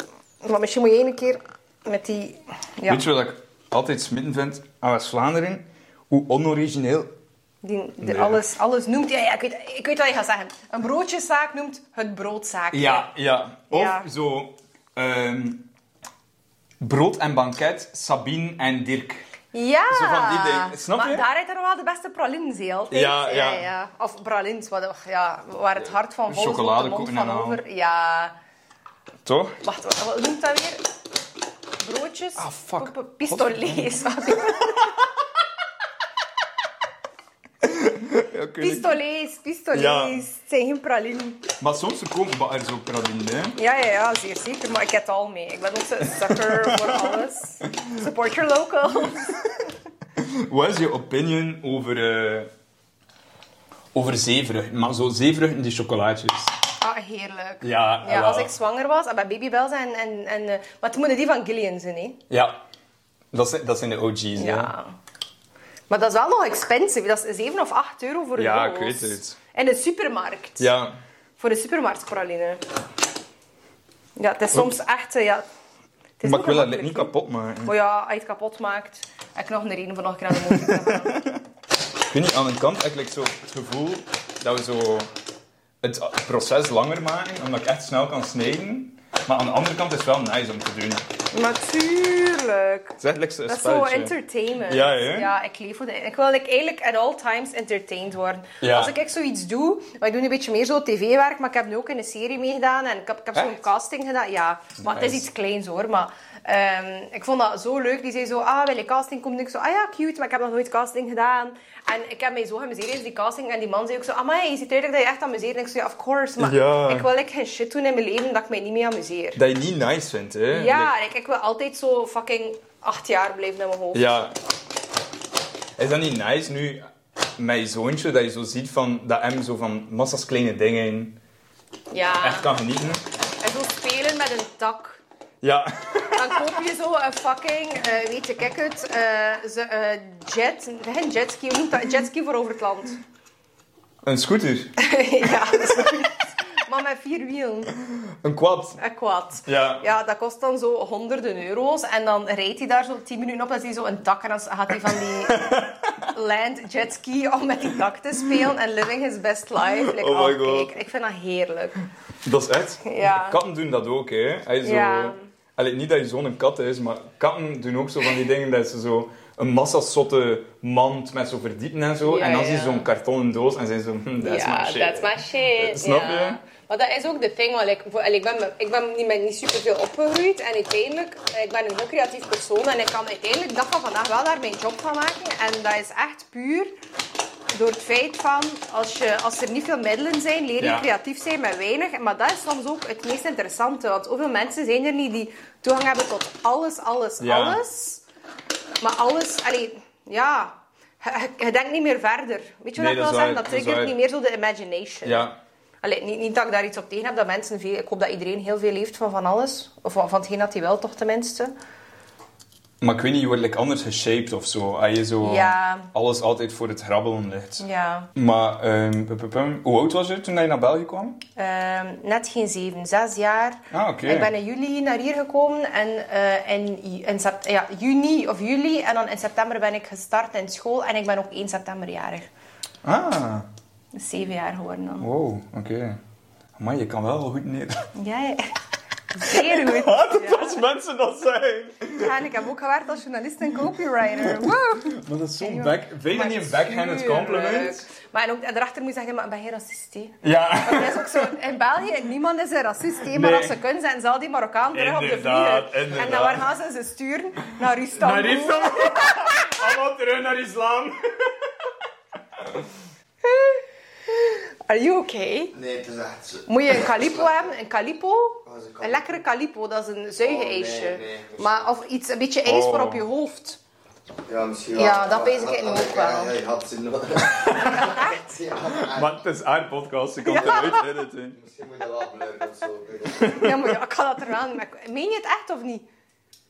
[SPEAKER 2] maar misschien moet je één keer met die... Ja.
[SPEAKER 1] Ah, Weet je wat ik altijd smitten vind aan West-Vlaanderen? hoe onorigineel.
[SPEAKER 2] Die, de-
[SPEAKER 1] Nee.
[SPEAKER 2] alles, alles noemt... Ja, ja, ik, weet, ik weet wat je gaat zeggen. Een broodjeszaak noemt het broodzaak.
[SPEAKER 1] Ja, ja. Of
[SPEAKER 2] Ja.
[SPEAKER 1] zo... ehm, brood en banket, Sabine en Dirk.
[SPEAKER 2] Ja.
[SPEAKER 1] Zo van die dingen. Snap
[SPEAKER 2] maar
[SPEAKER 1] je?
[SPEAKER 2] daar rijdt er wel de beste pralines in, altijd. eh,
[SPEAKER 1] Ja, ja.
[SPEAKER 2] Of pralines, wat, ja, waar het hart van vol is, loopt de mond
[SPEAKER 1] Chocoladekoeken en
[SPEAKER 2] van
[SPEAKER 1] al.
[SPEAKER 2] over. Ja.
[SPEAKER 1] Toch?
[SPEAKER 2] Wacht, wat, wat noemt dat weer? Broodjes?
[SPEAKER 1] Ah, fuck.
[SPEAKER 2] P- Ah, p- Pistolets.
[SPEAKER 1] Ja, ik weet niet.
[SPEAKER 2] Pistolets, pistolets.
[SPEAKER 1] Ja.
[SPEAKER 2] Het zijn geen pralines.
[SPEAKER 1] Maar soms komen we er zo pralines, hè.
[SPEAKER 2] Ja, ja, ja, zeer zeker. Maar ik heb het al mee. Ik ben ook zo'n sucker voor alles. Support your local.
[SPEAKER 1] Wat is je opinion over, eh over zeevruchten? Maar zo zeevruchten die chocolaatjes.
[SPEAKER 2] Ah, heerlijk.
[SPEAKER 1] Ja,
[SPEAKER 2] Ja,
[SPEAKER 1] wel.
[SPEAKER 2] als ik zwanger was, en bij babybels en... en, en eh, maar het moeten die van Gillian zijn, hè?
[SPEAKER 1] Ja, dat zijn, dat zijn de OG's. hè.
[SPEAKER 2] Ja. Maar dat is wel nog expensive. Dat is 7 of 8 euro voor een
[SPEAKER 1] Ja,
[SPEAKER 2] doos.
[SPEAKER 1] ik weet het.
[SPEAKER 2] In de supermarkt.
[SPEAKER 1] Ja.
[SPEAKER 2] Voor een supermarktpraline. Ja, het is soms echt... eh, Ja, het is
[SPEAKER 1] Maar
[SPEAKER 2] ook
[SPEAKER 1] ik wil dat
[SPEAKER 2] gemakkelijk,
[SPEAKER 1] niet
[SPEAKER 2] hè.
[SPEAKER 1] kapot maken.
[SPEAKER 2] Maar ja, als je het kapot maakt, heb ik nog een reden voor nog een keer aan de motor te gaan.
[SPEAKER 1] Ik weet niet, aan de kant heb ik zo het gevoel dat we zo het proces langer maken, omdat ik echt snel kan snijden. Maar aan de andere kant is het wel nice om te doen. Het
[SPEAKER 2] Natuurlijk.
[SPEAKER 1] is echt lekker een
[SPEAKER 2] Dat is zo
[SPEAKER 1] spelletje.
[SPEAKER 2] entertainment.
[SPEAKER 1] Ja, hè?
[SPEAKER 2] Ja, ik leef voor de... Ik wil like, eigenlijk at all times entertained worden.
[SPEAKER 1] Ja.
[SPEAKER 2] Als ik echt zoiets doe... maar Ik doe een beetje meer zo tv-werk, maar ik heb nu ook in een serie meegedaan. En ik heb, ik heb zo'n
[SPEAKER 1] Echt?
[SPEAKER 2] casting gedaan. Ja, maar het is
[SPEAKER 1] Nice.
[SPEAKER 2] iets kleins hoor. Maar ehm, ik vond dat zo leuk. Die zei zo, ah, wil je casting komen? En ik zo, ah ja, cute, maar ik heb nog nooit casting gedaan. En ik heb mij zo gemuseerd in die casting. En die man zei ook zo, amai, je ziet duidelijk dat je echt amuseert. En ik zo, ja, of course. Maar
[SPEAKER 1] Ja.
[SPEAKER 2] ik wil like, geen shit doen in mijn leven dat ik mij niet meer amuseer.
[SPEAKER 1] Dat je niet nice vindt, hè?
[SPEAKER 2] Ja, ik, ik wil altijd zo fucking acht jaar blijven in mijn hoofd.
[SPEAKER 1] Ja. Is dat niet nice nu met je zoontje dat je zo ziet van dat hem zo van massa's kleine dingen
[SPEAKER 2] Ja.
[SPEAKER 1] echt kan genieten?
[SPEAKER 2] En zo spelen met een tak.
[SPEAKER 1] Ja.
[SPEAKER 2] Dan koop je zo een fucking, eh, weet je, kijk het, eh, ze, eh, jet, geen jetski, hoe noemt dat? Jetski voor over het land.
[SPEAKER 1] Een scooter.
[SPEAKER 2] ja, dat is goed. maar met vier wielen.
[SPEAKER 1] Een quad.
[SPEAKER 2] Een quad.
[SPEAKER 1] Ja.
[SPEAKER 2] Ja, dat kost dan zo honderden euro's. En dan rijdt hij daar zo tien minuten op, dan is hij zo een dak. En dan gaat hij van die land jetski om met die dak te spelen. En living his best life. Like,
[SPEAKER 1] Oh my
[SPEAKER 2] kijk,
[SPEAKER 1] God.
[SPEAKER 2] Ik vind dat heerlijk.
[SPEAKER 1] Dat is echt.
[SPEAKER 2] Ja.
[SPEAKER 1] Katten doen dat ook, hè? Hij zo...
[SPEAKER 2] Ja.
[SPEAKER 1] Allee, niet dat je zo'n kat is, maar katten doen ook zo van die dingen dat ze zo een massa zotte mand met zo verdiepen en zo.
[SPEAKER 2] Ja,
[SPEAKER 1] en dan zien
[SPEAKER 2] ja.
[SPEAKER 1] ze zo'n kartonnen doos en zijn ze zo, hm, that's
[SPEAKER 2] ja,
[SPEAKER 1] my shit.
[SPEAKER 2] that's my shit.
[SPEAKER 1] Snap
[SPEAKER 2] ja.
[SPEAKER 1] je?
[SPEAKER 2] Maar dat is ook de thing, want ik, voor- allee, ik ben, ik ben niet, met niet superveel opgegroeid. En uiteindelijk, eh, ik ben een heel creatief persoon. En ik kan uiteindelijk dat van vandaag wel daar mijn job van maken. En dat is echt puur door het feit van, als, je, als er niet veel middelen zijn, leer je
[SPEAKER 1] Ja.
[SPEAKER 2] creatief zijn met weinig. Maar dat is soms ook het meest interessante. Want hoeveel mensen zijn er niet die toegang hebben tot alles, alles,
[SPEAKER 1] Ja.
[SPEAKER 2] alles. Maar alles, allee, ja... Je, je- je denkt niet meer verder. Weet je
[SPEAKER 1] Nee,
[SPEAKER 2] wat ik
[SPEAKER 1] dat
[SPEAKER 2] wil
[SPEAKER 1] is
[SPEAKER 2] zeggen?
[SPEAKER 1] waar,
[SPEAKER 2] Dat
[SPEAKER 1] dat is
[SPEAKER 2] triggert
[SPEAKER 1] waar.
[SPEAKER 2] niet meer zo de imagination.
[SPEAKER 1] Ja.
[SPEAKER 2] Allee, niet, niet dat ik daar iets op tegen heb, dat mensen veel... Ik hoop dat iedereen heel veel leeft van van alles. Of van, van hetgeen dat hij wil, toch tenminste.
[SPEAKER 1] Maar ik weet niet, je wordt like, anders geshaped of zo. Als je zo
[SPEAKER 2] Ja.
[SPEAKER 1] alles altijd voor het grabbelen ligt.
[SPEAKER 2] Ja.
[SPEAKER 1] Maar, ehm, pum, pum, pum. hoe oud was je toen je naar België kwam?
[SPEAKER 2] Ehm, net geen zeven, zes jaar.
[SPEAKER 1] Ah, oké.
[SPEAKER 2] Ik ben in juli naar hier gekomen. En eh, in, ju- in sept- ja, juni of juli. En dan in september ben ik gestart in school. En ik ben ook 1 september jarig.
[SPEAKER 1] Ah,
[SPEAKER 2] Dus zeven jaar geworden dan.
[SPEAKER 1] wow, oké. Maar je kan wel goed neer.
[SPEAKER 2] Ja, ja. Zeer goed.
[SPEAKER 1] dat als mensen dat zijn.
[SPEAKER 2] Ja, en ik heb ook gewerkt als journalist en copywriter. Wow.
[SPEAKER 1] Maar dat is zo'n
[SPEAKER 2] Anyway.
[SPEAKER 1] back... Vind je dat niet een backhanded compliment?
[SPEAKER 2] Tuurlijk. Maar en ook daarachter moet je zeggen, maar ben je racist? hè?
[SPEAKER 1] Ja.
[SPEAKER 2] Dat is ook zo. In België, niemand is een racist, hè, maar
[SPEAKER 1] Nee.
[SPEAKER 2] als ze kunnen zijn, zal die Marokkaan terug op de
[SPEAKER 1] Inderdaad,
[SPEAKER 2] vlieger. En dan
[SPEAKER 1] inderdaad.
[SPEAKER 2] waar gaan ze ze sturen? Naar Istanbul.
[SPEAKER 1] Naar islam. Allemaal terug naar islam.
[SPEAKER 2] Are you okay?
[SPEAKER 3] Nee, het is echt zo.
[SPEAKER 2] Moet je een calipo hebben? Een calipo?
[SPEAKER 3] Wat is een calipo?
[SPEAKER 2] Een lekkere calipo, dat is een zuigeijsje.
[SPEAKER 3] Oh, nee, nee, dat is-
[SPEAKER 2] maar, of iets, een beetje ijs voor
[SPEAKER 1] Oh.
[SPEAKER 2] op je hoofd.
[SPEAKER 3] Ja, misschien
[SPEAKER 2] Ja,
[SPEAKER 3] wel.
[SPEAKER 2] dat pees ik in
[SPEAKER 3] had-
[SPEAKER 2] ook
[SPEAKER 3] ja,
[SPEAKER 2] wel.
[SPEAKER 3] Ja, je had ze nodig.
[SPEAKER 2] Echt?
[SPEAKER 3] Ja,
[SPEAKER 1] Maar het is haar podcast, ze kan
[SPEAKER 2] Ja.
[SPEAKER 1] eruit editen.
[SPEAKER 3] misschien moet je dat wel blurren of zo.
[SPEAKER 2] Ja, maar ja, ik ga dat eraan maken. Meen je het echt of niet?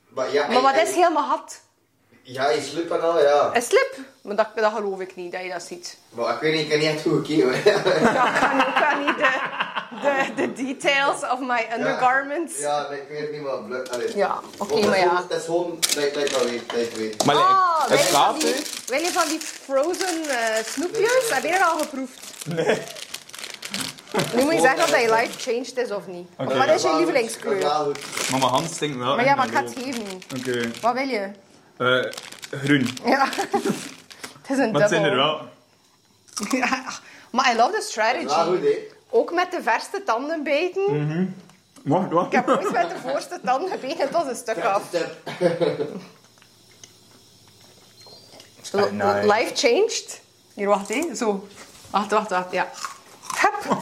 [SPEAKER 3] Maar, ja,
[SPEAKER 2] Maar wat
[SPEAKER 3] en-
[SPEAKER 2] is helemaal hat?
[SPEAKER 3] Ja, je slip en al, ja.
[SPEAKER 2] Een slip? Maar dat, dat geloof ik niet, dat je dat ziet.
[SPEAKER 3] Maar ik weet niet, ik heb niet echt goed gekeken.
[SPEAKER 2] Ja, ik kan ook wel niet de, the, the details of my undergarments.
[SPEAKER 3] Ja, nee, ik weet niet wat blur. Allee.
[SPEAKER 2] Ja, oké,
[SPEAKER 3] Want dat is
[SPEAKER 2] maar ja.
[SPEAKER 3] gewoon- Dat is gewoon, dat ik wel weet, dat ik weet.
[SPEAKER 1] Maar
[SPEAKER 2] Ah,
[SPEAKER 1] het
[SPEAKER 2] wil je van
[SPEAKER 1] staat
[SPEAKER 2] die,
[SPEAKER 1] er.
[SPEAKER 2] wil je van die frozen eh, snoepjes? Heb je dat al geproefd? Nee. Nu moet je zeggen of dat je life changed is of niet.
[SPEAKER 1] Oké.
[SPEAKER 2] Wat is je
[SPEAKER 3] Ja,
[SPEAKER 2] lievelingskleur?
[SPEAKER 3] ja, goed.
[SPEAKER 1] Maar mijn hand stinkt wel.
[SPEAKER 2] Maar
[SPEAKER 1] echt
[SPEAKER 2] ja, maar ik
[SPEAKER 1] naar
[SPEAKER 2] ga het
[SPEAKER 1] rook.
[SPEAKER 2] geven.
[SPEAKER 1] Oké.
[SPEAKER 2] Wat wil je?
[SPEAKER 1] Eh, groen.
[SPEAKER 2] Ja. het
[SPEAKER 1] Maar
[SPEAKER 2] is een dubbel.
[SPEAKER 1] het zijn er wel.
[SPEAKER 2] Ja. Maar I love the
[SPEAKER 3] Ja, goed,
[SPEAKER 2] strategy.
[SPEAKER 3] hè.
[SPEAKER 2] Ook met de verste tanden bijten.
[SPEAKER 1] Mhm. Wacht, wacht.
[SPEAKER 2] Ik heb ooit met de voorste tanden gebeten, het was een stuk af.
[SPEAKER 3] Tap.
[SPEAKER 2] L-
[SPEAKER 1] nice.
[SPEAKER 2] Life changed. Hier, wacht hé. Zo. Wacht, wacht, wacht. Ja. Hup.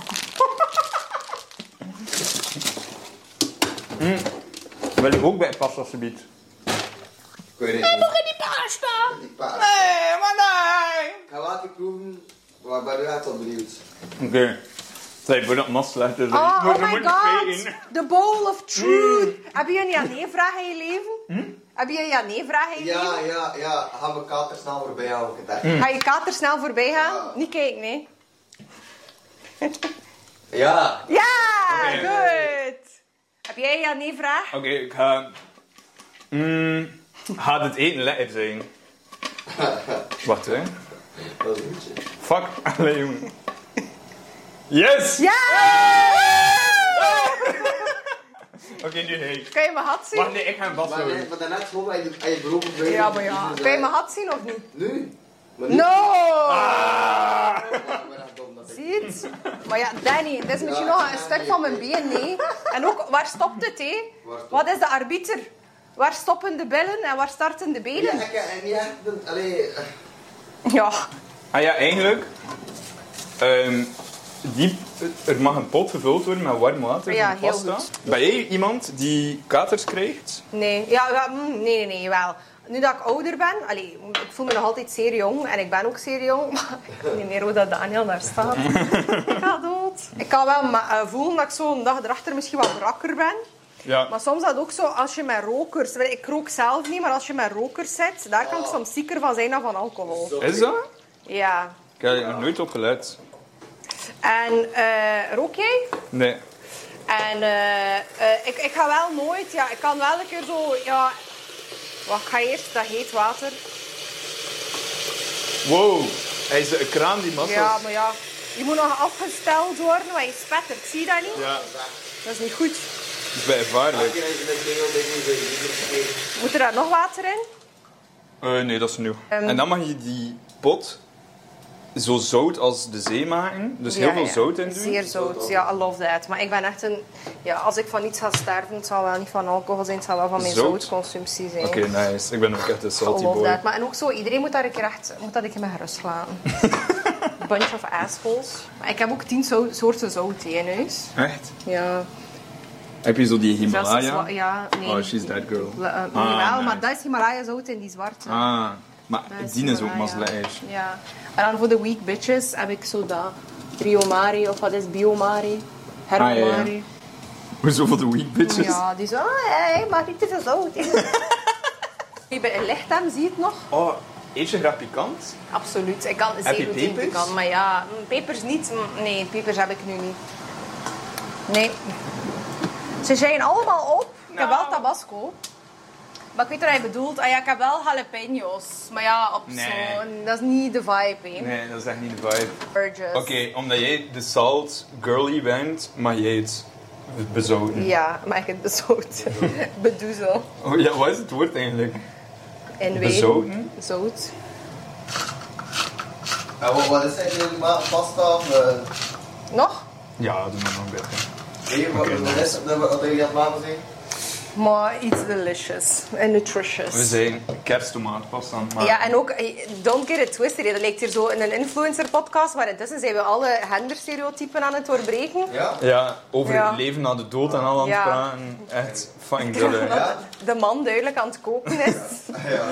[SPEAKER 1] Wil je ook bij past alsjeblieft?
[SPEAKER 3] Ik weet het niet.
[SPEAKER 2] in die pasta.
[SPEAKER 3] Die paars.
[SPEAKER 2] Nee, maar nee.
[SPEAKER 3] Ik ga later proeven, maar ik ben nu echt wel benieuwd.
[SPEAKER 1] Oké. Zij voor dat mas legt dus
[SPEAKER 2] Oh,
[SPEAKER 1] maar
[SPEAKER 2] oh
[SPEAKER 1] ze
[SPEAKER 2] my
[SPEAKER 1] moeten
[SPEAKER 2] god.
[SPEAKER 1] vegen.
[SPEAKER 2] The bowl of truth.
[SPEAKER 1] Mm.
[SPEAKER 2] Heb je een ja-nee-vraag in je leven?
[SPEAKER 1] Hm?
[SPEAKER 2] Heb je een ja-nee-vraag in je
[SPEAKER 3] Ja,
[SPEAKER 2] leven?
[SPEAKER 3] ja, ja. Ga mijn kater snel voorbij halen. Ik het echt.
[SPEAKER 2] Ga je kater snel voorbij gaan?
[SPEAKER 3] Ja.
[SPEAKER 2] Niet kijken, nee.
[SPEAKER 3] Ja.
[SPEAKER 2] Ja,
[SPEAKER 1] Oké.
[SPEAKER 2] goed. Heb jij een ja-nee-vraag?
[SPEAKER 1] Oké, ik ga. Mm, gaat het eten lekker zijn? Wacht hè.
[SPEAKER 3] Dat is een beetje.
[SPEAKER 1] Fuck, alleen jongen. Yes!
[SPEAKER 2] Ja!
[SPEAKER 1] Oké, nu nee.
[SPEAKER 2] Kan je mijn hat zien?
[SPEAKER 1] Wacht, nee, ik ga hem
[SPEAKER 3] Maar, nee,
[SPEAKER 1] vasthouden.
[SPEAKER 3] maar daarnet gewoon bij je, bij je beroepen brengen.
[SPEAKER 2] Ja, maar ja. Kan je mijn hat zien of niet?
[SPEAKER 3] Nu? Maar nu?
[SPEAKER 2] No!
[SPEAKER 1] Ah!
[SPEAKER 3] Ja, ik ben echt dom dat ik-
[SPEAKER 2] Ziet? Maar ja, Danny, dit is misschien
[SPEAKER 3] Ja,
[SPEAKER 2] nog een stuk van mijn been, nee. En ook, waar stopt het, hé?
[SPEAKER 3] Waar stopt-
[SPEAKER 2] Wat is de arbiter? Waar stoppen de billen en waar starten de
[SPEAKER 3] Ja,
[SPEAKER 2] benen?
[SPEAKER 3] ik en niet echt. een- Allee. eh,
[SPEAKER 2] Ja.
[SPEAKER 1] Ah ja, eigenlijk. ehm, die, er mag een pot gevuld worden met warm water
[SPEAKER 2] Ja,
[SPEAKER 1] van
[SPEAKER 2] heel
[SPEAKER 1] pasta.
[SPEAKER 2] goed.
[SPEAKER 1] Ben jij iemand die katers krijgt?
[SPEAKER 2] Nee, ja, ja, mm, nee, nee, nee, wel. Nu dat ik ouder ben, allee, ik voel me nog altijd zeer jong en ik ben ook zeer jong, maar ik weet niet meer hoe dat Daniel daar staat. ik ga dood. Ik kan wel ma- eh, voelen dat ik zo'n dag erachter misschien wat rakker ben.
[SPEAKER 1] Ja.
[SPEAKER 2] Maar soms dat ook zo als je met rokers, wel, ik rook zelf niet, maar als je met rokers zit, daar kan ik soms zieker van zijn dan van alcohol.
[SPEAKER 3] zo-
[SPEAKER 1] Is dat?
[SPEAKER 2] Ja.
[SPEAKER 1] Ik heb er nog nooit op gelet.
[SPEAKER 2] En eh rook jij?
[SPEAKER 1] Nee.
[SPEAKER 2] En eh, eh, ik, ik ga wel nooit, ja, ik kan wel een keer zo, ja... Wacht, ik ga eerst dat heet water.
[SPEAKER 1] Wow, hij is een kraan die massa.
[SPEAKER 2] Ja, maar ja, je moet nog afgesteld worden, want je spettert. Zie je dat niet?
[SPEAKER 1] Ja,
[SPEAKER 2] Dat is niet goed.
[SPEAKER 1] dat is bijvaarlijk.
[SPEAKER 3] Ik heb een heel ding in de liefde.
[SPEAKER 2] Moet er daar nog water in?
[SPEAKER 1] Eh nee, dat is nieuw.
[SPEAKER 2] Ehm.
[SPEAKER 1] En dan mag je die pot zo zout als de zee maken. Dus heel
[SPEAKER 2] Ja,
[SPEAKER 1] veel
[SPEAKER 2] ja.
[SPEAKER 1] zout in doen.
[SPEAKER 2] Zeer zout, ja, I love that. Maar ik ben echt een... Ja, als ik van iets ga sterven, het zal wel niet van alcohol zijn, het zal wel van mijn
[SPEAKER 1] Zout?
[SPEAKER 2] zoutconsumptie zijn.
[SPEAKER 1] Oké, nice. Ik ben ook echt een
[SPEAKER 2] I
[SPEAKER 1] salty
[SPEAKER 2] love that.
[SPEAKER 1] boy.
[SPEAKER 2] Maar en ook zo, iedereen moet daar een keer echt... Moet dat een keer met gerust laten. Bunch of assholes. Maar ik heb ook tien zo- soorten zout hier in huis.
[SPEAKER 1] Echt?
[SPEAKER 2] Ja.
[SPEAKER 1] Heb je zo die
[SPEAKER 2] zelfs de
[SPEAKER 1] Himalaya?
[SPEAKER 2] zwa- ja, nee.
[SPEAKER 1] Oh, she's that girl.
[SPEAKER 2] Eh, eh,
[SPEAKER 1] Ah,
[SPEAKER 2] jawel,
[SPEAKER 1] nice.
[SPEAKER 2] maar dat is Himalaya zout en die zwarte.
[SPEAKER 1] Ah, maar
[SPEAKER 2] Dat
[SPEAKER 1] die is ook
[SPEAKER 2] Himalaya.
[SPEAKER 1] maslaij.
[SPEAKER 2] Ja. En dan voor de weak bitches heb ik zo dat. Biomari, of wat is biomari? Heromari.
[SPEAKER 1] Ah, ja, ja. Hoezo voor de weak bitches?
[SPEAKER 2] Ja, die zo, ah, hey, maar dit is zo. Bij een lichaam zie je het nog?
[SPEAKER 1] Oh, eet je graag pikant?
[SPEAKER 2] Absoluut. Ik kan
[SPEAKER 1] je
[SPEAKER 2] zeer goed in
[SPEAKER 1] pepers?
[SPEAKER 2] pikant, maar ja, mm, pepers niet. Mm, Nee, pepers heb ik nu niet. Nee. Ze zijn allemaal op. Ik heb wel
[SPEAKER 1] Nou.
[SPEAKER 2] tabasco. Maar ik weet wat hij bedoelt. Ah ja, ik heb wel jalapenos. Maar ja, op
[SPEAKER 1] Nee.
[SPEAKER 2] zo'n... Dat is niet de vibe, hè.
[SPEAKER 1] Nee, dat is echt niet de vibe.
[SPEAKER 2] Burgers.
[SPEAKER 1] Oké, omdat jij de salt girly bent, maar jij het bezouten.
[SPEAKER 2] Ja, maar ik het bezout. Bedoezel.
[SPEAKER 1] Oh ja, wat is het woord eigenlijk?
[SPEAKER 2] En weer.
[SPEAKER 1] Bezouten?
[SPEAKER 2] Zout.
[SPEAKER 3] En wat- wat is het eigenlijk? Ma- Pasta of... eh,
[SPEAKER 2] Nog?
[SPEAKER 1] Ja, doe maar nog beter.
[SPEAKER 3] Weet je wat
[SPEAKER 1] Oké,
[SPEAKER 3] wat is het? Wat jullie aan het maken zijn?
[SPEAKER 2] Maar iets delicious. En nutritious.
[SPEAKER 1] We zijn kersttomaatpasta aan het maken.
[SPEAKER 2] Ja, en ook, eh, don't get it twisted. hè. Dat lijkt hier zo in een influencer-podcast, maar intussen zijn we alle genderstereotypen aan het doorbreken.
[SPEAKER 3] Ja?
[SPEAKER 1] Ja, over
[SPEAKER 2] Ja.
[SPEAKER 1] het leven na de dood en al aan het
[SPEAKER 2] Ja.
[SPEAKER 1] praten. Echt fucking dulle.
[SPEAKER 2] Dat de man duidelijk aan het koken is.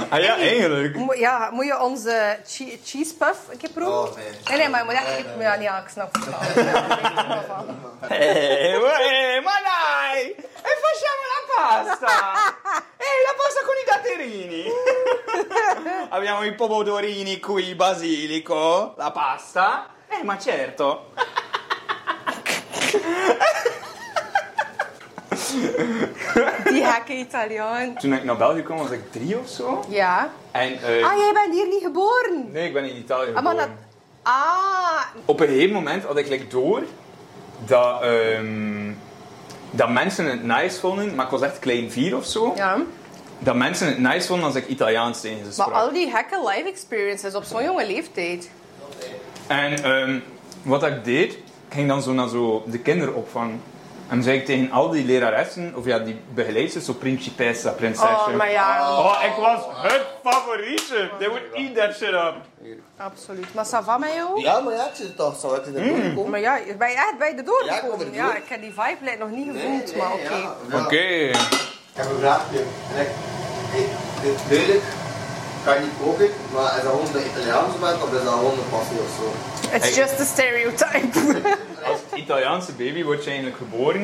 [SPEAKER 1] Ah ja, eigenlijk.
[SPEAKER 2] Mo- Ja, moet je onze che- cheese puff een keer proeven?
[SPEAKER 3] Oh, nee.
[SPEAKER 2] nee, maar je moet echt...
[SPEAKER 3] Nee, nee,
[SPEAKER 2] Ja, nee, ja, ik snap het wel. Ja, ik weet er wel van. Eh,
[SPEAKER 1] Hey, hey, manai! eh, E facciamo la pasta! Ehi, la pasta con i datterini! Abbiamo i pomodorini qui, basilico, la pasta. Eh, ma certo!
[SPEAKER 2] Die gekke Italiaan.
[SPEAKER 1] Toen ik naar België kwam, was ik drie of zo.
[SPEAKER 2] Ja.
[SPEAKER 1] En, eh,
[SPEAKER 2] Ah, jij bent hier niet geboren.
[SPEAKER 1] Nee, ik ben in Italië
[SPEAKER 2] Ah, maar
[SPEAKER 1] geboren.
[SPEAKER 2] dat... Ah,
[SPEAKER 1] Op een gegeven moment had ik like, door dat, ehm, dat mensen het nice vonden, maar ik was echt klein vier of zo.
[SPEAKER 2] ja.
[SPEAKER 1] Dat mensen het nice vonden als ik Italiaans tegen ze sprak.
[SPEAKER 2] Maar al die gekke life experiences op zo'n jonge leeftijd.
[SPEAKER 1] En ehm, wat ik deed, ik ging dan zo naar zo de kinderopvang. En zei ik tegen al die leraressen, of ja, die begeleidsters, zo principessa, prinsesje.
[SPEAKER 2] Oh, maar ja,
[SPEAKER 1] Oh, ik was het favorietje. They would eat that shit up.
[SPEAKER 2] absoluut. Maar ça va met jou?
[SPEAKER 3] Ja, maar ja, ik zit toch zo. Ik zit er mm.
[SPEAKER 2] Maar ja, je bent echt bij de
[SPEAKER 3] Ja, ik kom
[SPEAKER 2] doorgekomen.
[SPEAKER 3] erdoor.
[SPEAKER 2] Ja, ik heb die vibe lijkt nog niet gevoeld, maar oké.
[SPEAKER 1] Oké.
[SPEAKER 3] Ik heb een vraagje. En ik- ik- dit- Duidelijk kan niet koken, maar is dat gewoon de Italiaanse bent of is dat gewoon de passie of zo?
[SPEAKER 2] It's just a stereotype.
[SPEAKER 1] Als Italiaanse baby word je eigenlijk geboren.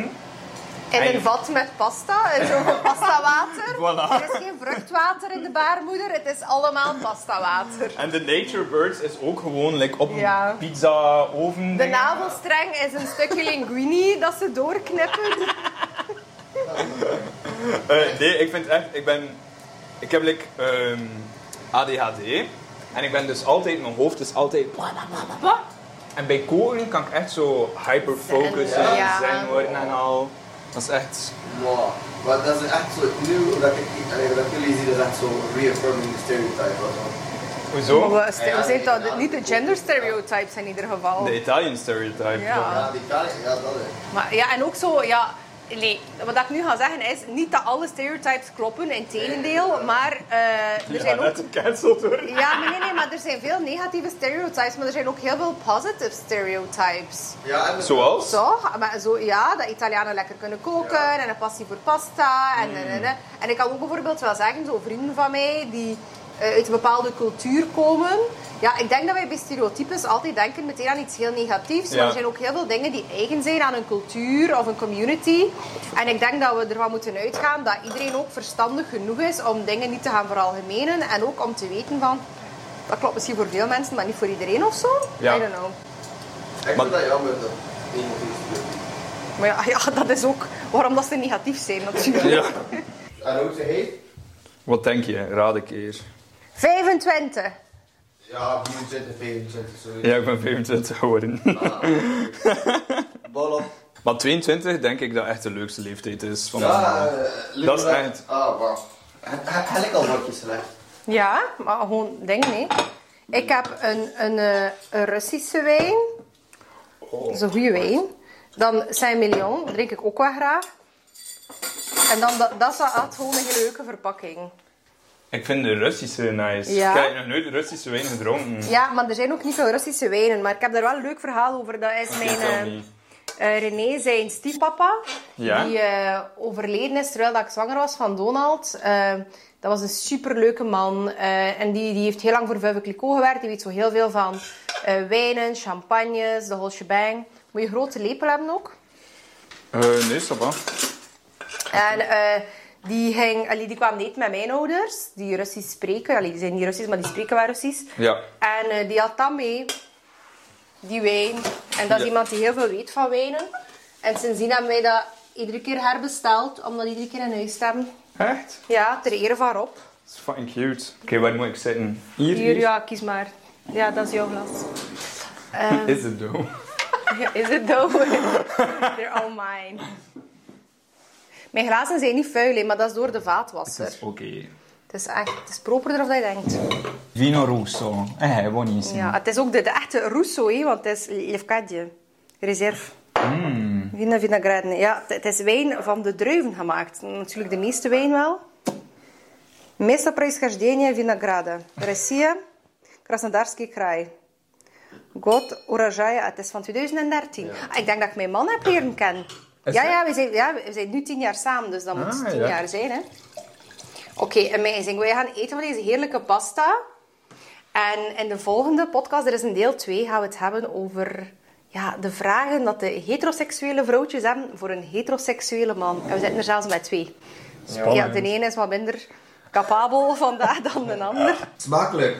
[SPEAKER 2] In een vat met pasta, en zo'n pastawater.
[SPEAKER 1] Voilà.
[SPEAKER 2] Er is geen vruchtwater in de baarmoeder, het is allemaal pastawater.
[SPEAKER 1] En de nature birds is ook gewoon like, op
[SPEAKER 2] Ja.
[SPEAKER 1] een pizza oven.
[SPEAKER 2] De navelstreng is een stukje linguini dat ze doorknippen.
[SPEAKER 1] Eh, nee, ik vind echt, ik ben, ik heb like, ehm, ADHD en ik ben dus altijd, mijn hoofd is altijd. En bij koken kan ik echt zo hyperfocussen
[SPEAKER 2] Zen,
[SPEAKER 1] en
[SPEAKER 2] ja.
[SPEAKER 1] zen worden en al. Dat is echt.
[SPEAKER 3] Wow. Maar dat is echt zo nieuw dat ik allee, dat jullie zien, dat is echt zo reaffirming the stereotype of zo.
[SPEAKER 1] Hoezo?
[SPEAKER 2] We, we zijn dat niet de gender stereotypes in ieder geval.
[SPEAKER 1] De Italian stereotype.
[SPEAKER 2] Ja.
[SPEAKER 3] Ja, die kan ik, ja, dat is.
[SPEAKER 2] Maar ja, en ook zo, ja, nee, wat ik nu ga zeggen is niet dat alle stereotypes kloppen, in tegendeel, maar eh, er
[SPEAKER 1] Die
[SPEAKER 2] zijn
[SPEAKER 1] gaan net
[SPEAKER 2] ook...
[SPEAKER 1] gecanceld worden.
[SPEAKER 2] Ja, maar nee, nee, maar er zijn veel negatieve stereotypes, maar er zijn ook heel veel positive stereotypes.
[SPEAKER 3] Ja, en
[SPEAKER 1] Zoals?
[SPEAKER 2] Toch? Maar zo, ja, dat Italianen lekker kunnen koken en een passie voor pasta.
[SPEAKER 1] Mm.
[SPEAKER 2] En, en, en, en. En ik kan ook bijvoorbeeld wel zeggen, zo vrienden van mij die eh, uit een bepaalde cultuur komen. Ja, ik denk dat wij bij stereotypes altijd denken meteen aan iets heel negatiefs. Maar
[SPEAKER 1] Ja.
[SPEAKER 2] er zijn ook heel veel dingen die eigen zijn aan een cultuur of een community. En ik denk dat we ervan moeten uitgaan dat iedereen ook verstandig genoeg is om dingen niet te gaan veralgemenen. En ook om te weten van, dat klopt misschien voor veel mensen, maar niet voor iedereen of zo.
[SPEAKER 1] Ja.
[SPEAKER 2] I don't know.
[SPEAKER 3] ik
[SPEAKER 1] Maar-
[SPEAKER 3] vind dat jammer dat iemand iets doet.
[SPEAKER 2] Maar ja, ja, dat is ook waarom dat ze negatief zijn natuurlijk.
[SPEAKER 1] Ja.
[SPEAKER 3] En hoe ze heet?
[SPEAKER 1] Wat denk je? Raad ik eer.
[SPEAKER 2] 25.
[SPEAKER 3] Ja, 24, 24, sorry.
[SPEAKER 1] Ja, ik ben 25 geworden.
[SPEAKER 3] Bal op.
[SPEAKER 1] Maar 22 denk ik dat echt de leukste leeftijd is. Van
[SPEAKER 3] Ja,
[SPEAKER 1] Dat is echt.
[SPEAKER 3] uh, Ah, wauw. Heb ik al wat slecht?
[SPEAKER 2] Ja, maar gewoon ding nee. Ik heb een, een, eh, een Russische wijn. Dat is een goede wijn. Dan Saint-Million, drink ik ook wel graag. En dan, dat, dat is echt gewoon een hele leuke verpakking.
[SPEAKER 1] Ik vind de Russische nice.
[SPEAKER 2] Ja?
[SPEAKER 1] Ik heb nog nooit Russische wijn gedronken.
[SPEAKER 2] Ja, maar er zijn ook niet veel Russische wijnen. Maar ik heb daar wel een leuk verhaal over. Dat is mijn...
[SPEAKER 1] Vertel
[SPEAKER 2] eh,
[SPEAKER 1] niet.
[SPEAKER 2] Eh, René, zijn stiefpapa,
[SPEAKER 1] Ja.
[SPEAKER 2] die eh, overleden is terwijl dat ik zwanger was van Donald. Eh, dat was een superleuke man. eh, en die, die heeft heel lang voor Veuve Clicquot gewerkt. Die weet zo heel veel van eh, wijnen, champagnes, de whole shebang. Moet je een grote lepel hebben ook.
[SPEAKER 1] Eh, nee, ça va.
[SPEAKER 2] En eh, die, ging, allee, die kwam niet met mijn ouders, die Russisch spreken. Allee, die zijn niet Russisch, maar die spreken wel Russisch.
[SPEAKER 1] Ja.
[SPEAKER 2] En eh, die had dat mee, die wijn. En dat is
[SPEAKER 1] Ja.
[SPEAKER 2] iemand die heel veel weet van wijnen. En sindsdien hebben wij dat iedere keer herbesteld, om dat iedere keer in huis te hebben.
[SPEAKER 1] Echt?
[SPEAKER 2] Ja, ter ere van Rob.
[SPEAKER 1] Dat is fucking cute. Oké, waar moet ik zitten? Hier,
[SPEAKER 2] Hier, ja, kies maar. Ja, dat is jouw glas.
[SPEAKER 1] Is het doe.
[SPEAKER 2] Ja, Is het though? They're all mine. Mijn glazen zijn niet vuil, hè, maar dat is door de vaatwasser.
[SPEAKER 1] Dat is oké.
[SPEAKER 2] Het is echt, het is properder dan dat je denkt.
[SPEAKER 1] Vino Russo. Eh, hij won niet.
[SPEAKER 2] Ja, het is ook de, de echte Rousseau, hè, want het is Lefkadje. Reserve.
[SPEAKER 1] Hmm.
[SPEAKER 2] Vina vinagradne. Ja, het- het is wijn van de druiven gemaakt. Natuurlijk de meeste wijn wel. Meeste происхождение винограда. Россия, Краснодарский край. God, урожая. Het is van 2013. Ah, Ik denk dat ik mijn man heb leren kennen.
[SPEAKER 1] Is
[SPEAKER 2] Ja,
[SPEAKER 1] dat-
[SPEAKER 2] ja, we zijn, ja, we zijn nu tien jaar samen, dus dat moet
[SPEAKER 1] Ah,
[SPEAKER 2] tien
[SPEAKER 1] ja.
[SPEAKER 2] jaar zijn, hè. Oké, amazing. Wij gaan eten van deze heerlijke pasta. En in de volgende podcast, er is een deel 2, gaan we het hebben over ja, de vragen dat de heteroseksuele vrouwtjes hebben voor een heteroseksuele man. En we zitten er zelfs met twee. Ja, de ene is wat minder capabel vandaag dan de ander.
[SPEAKER 3] Smakelijk.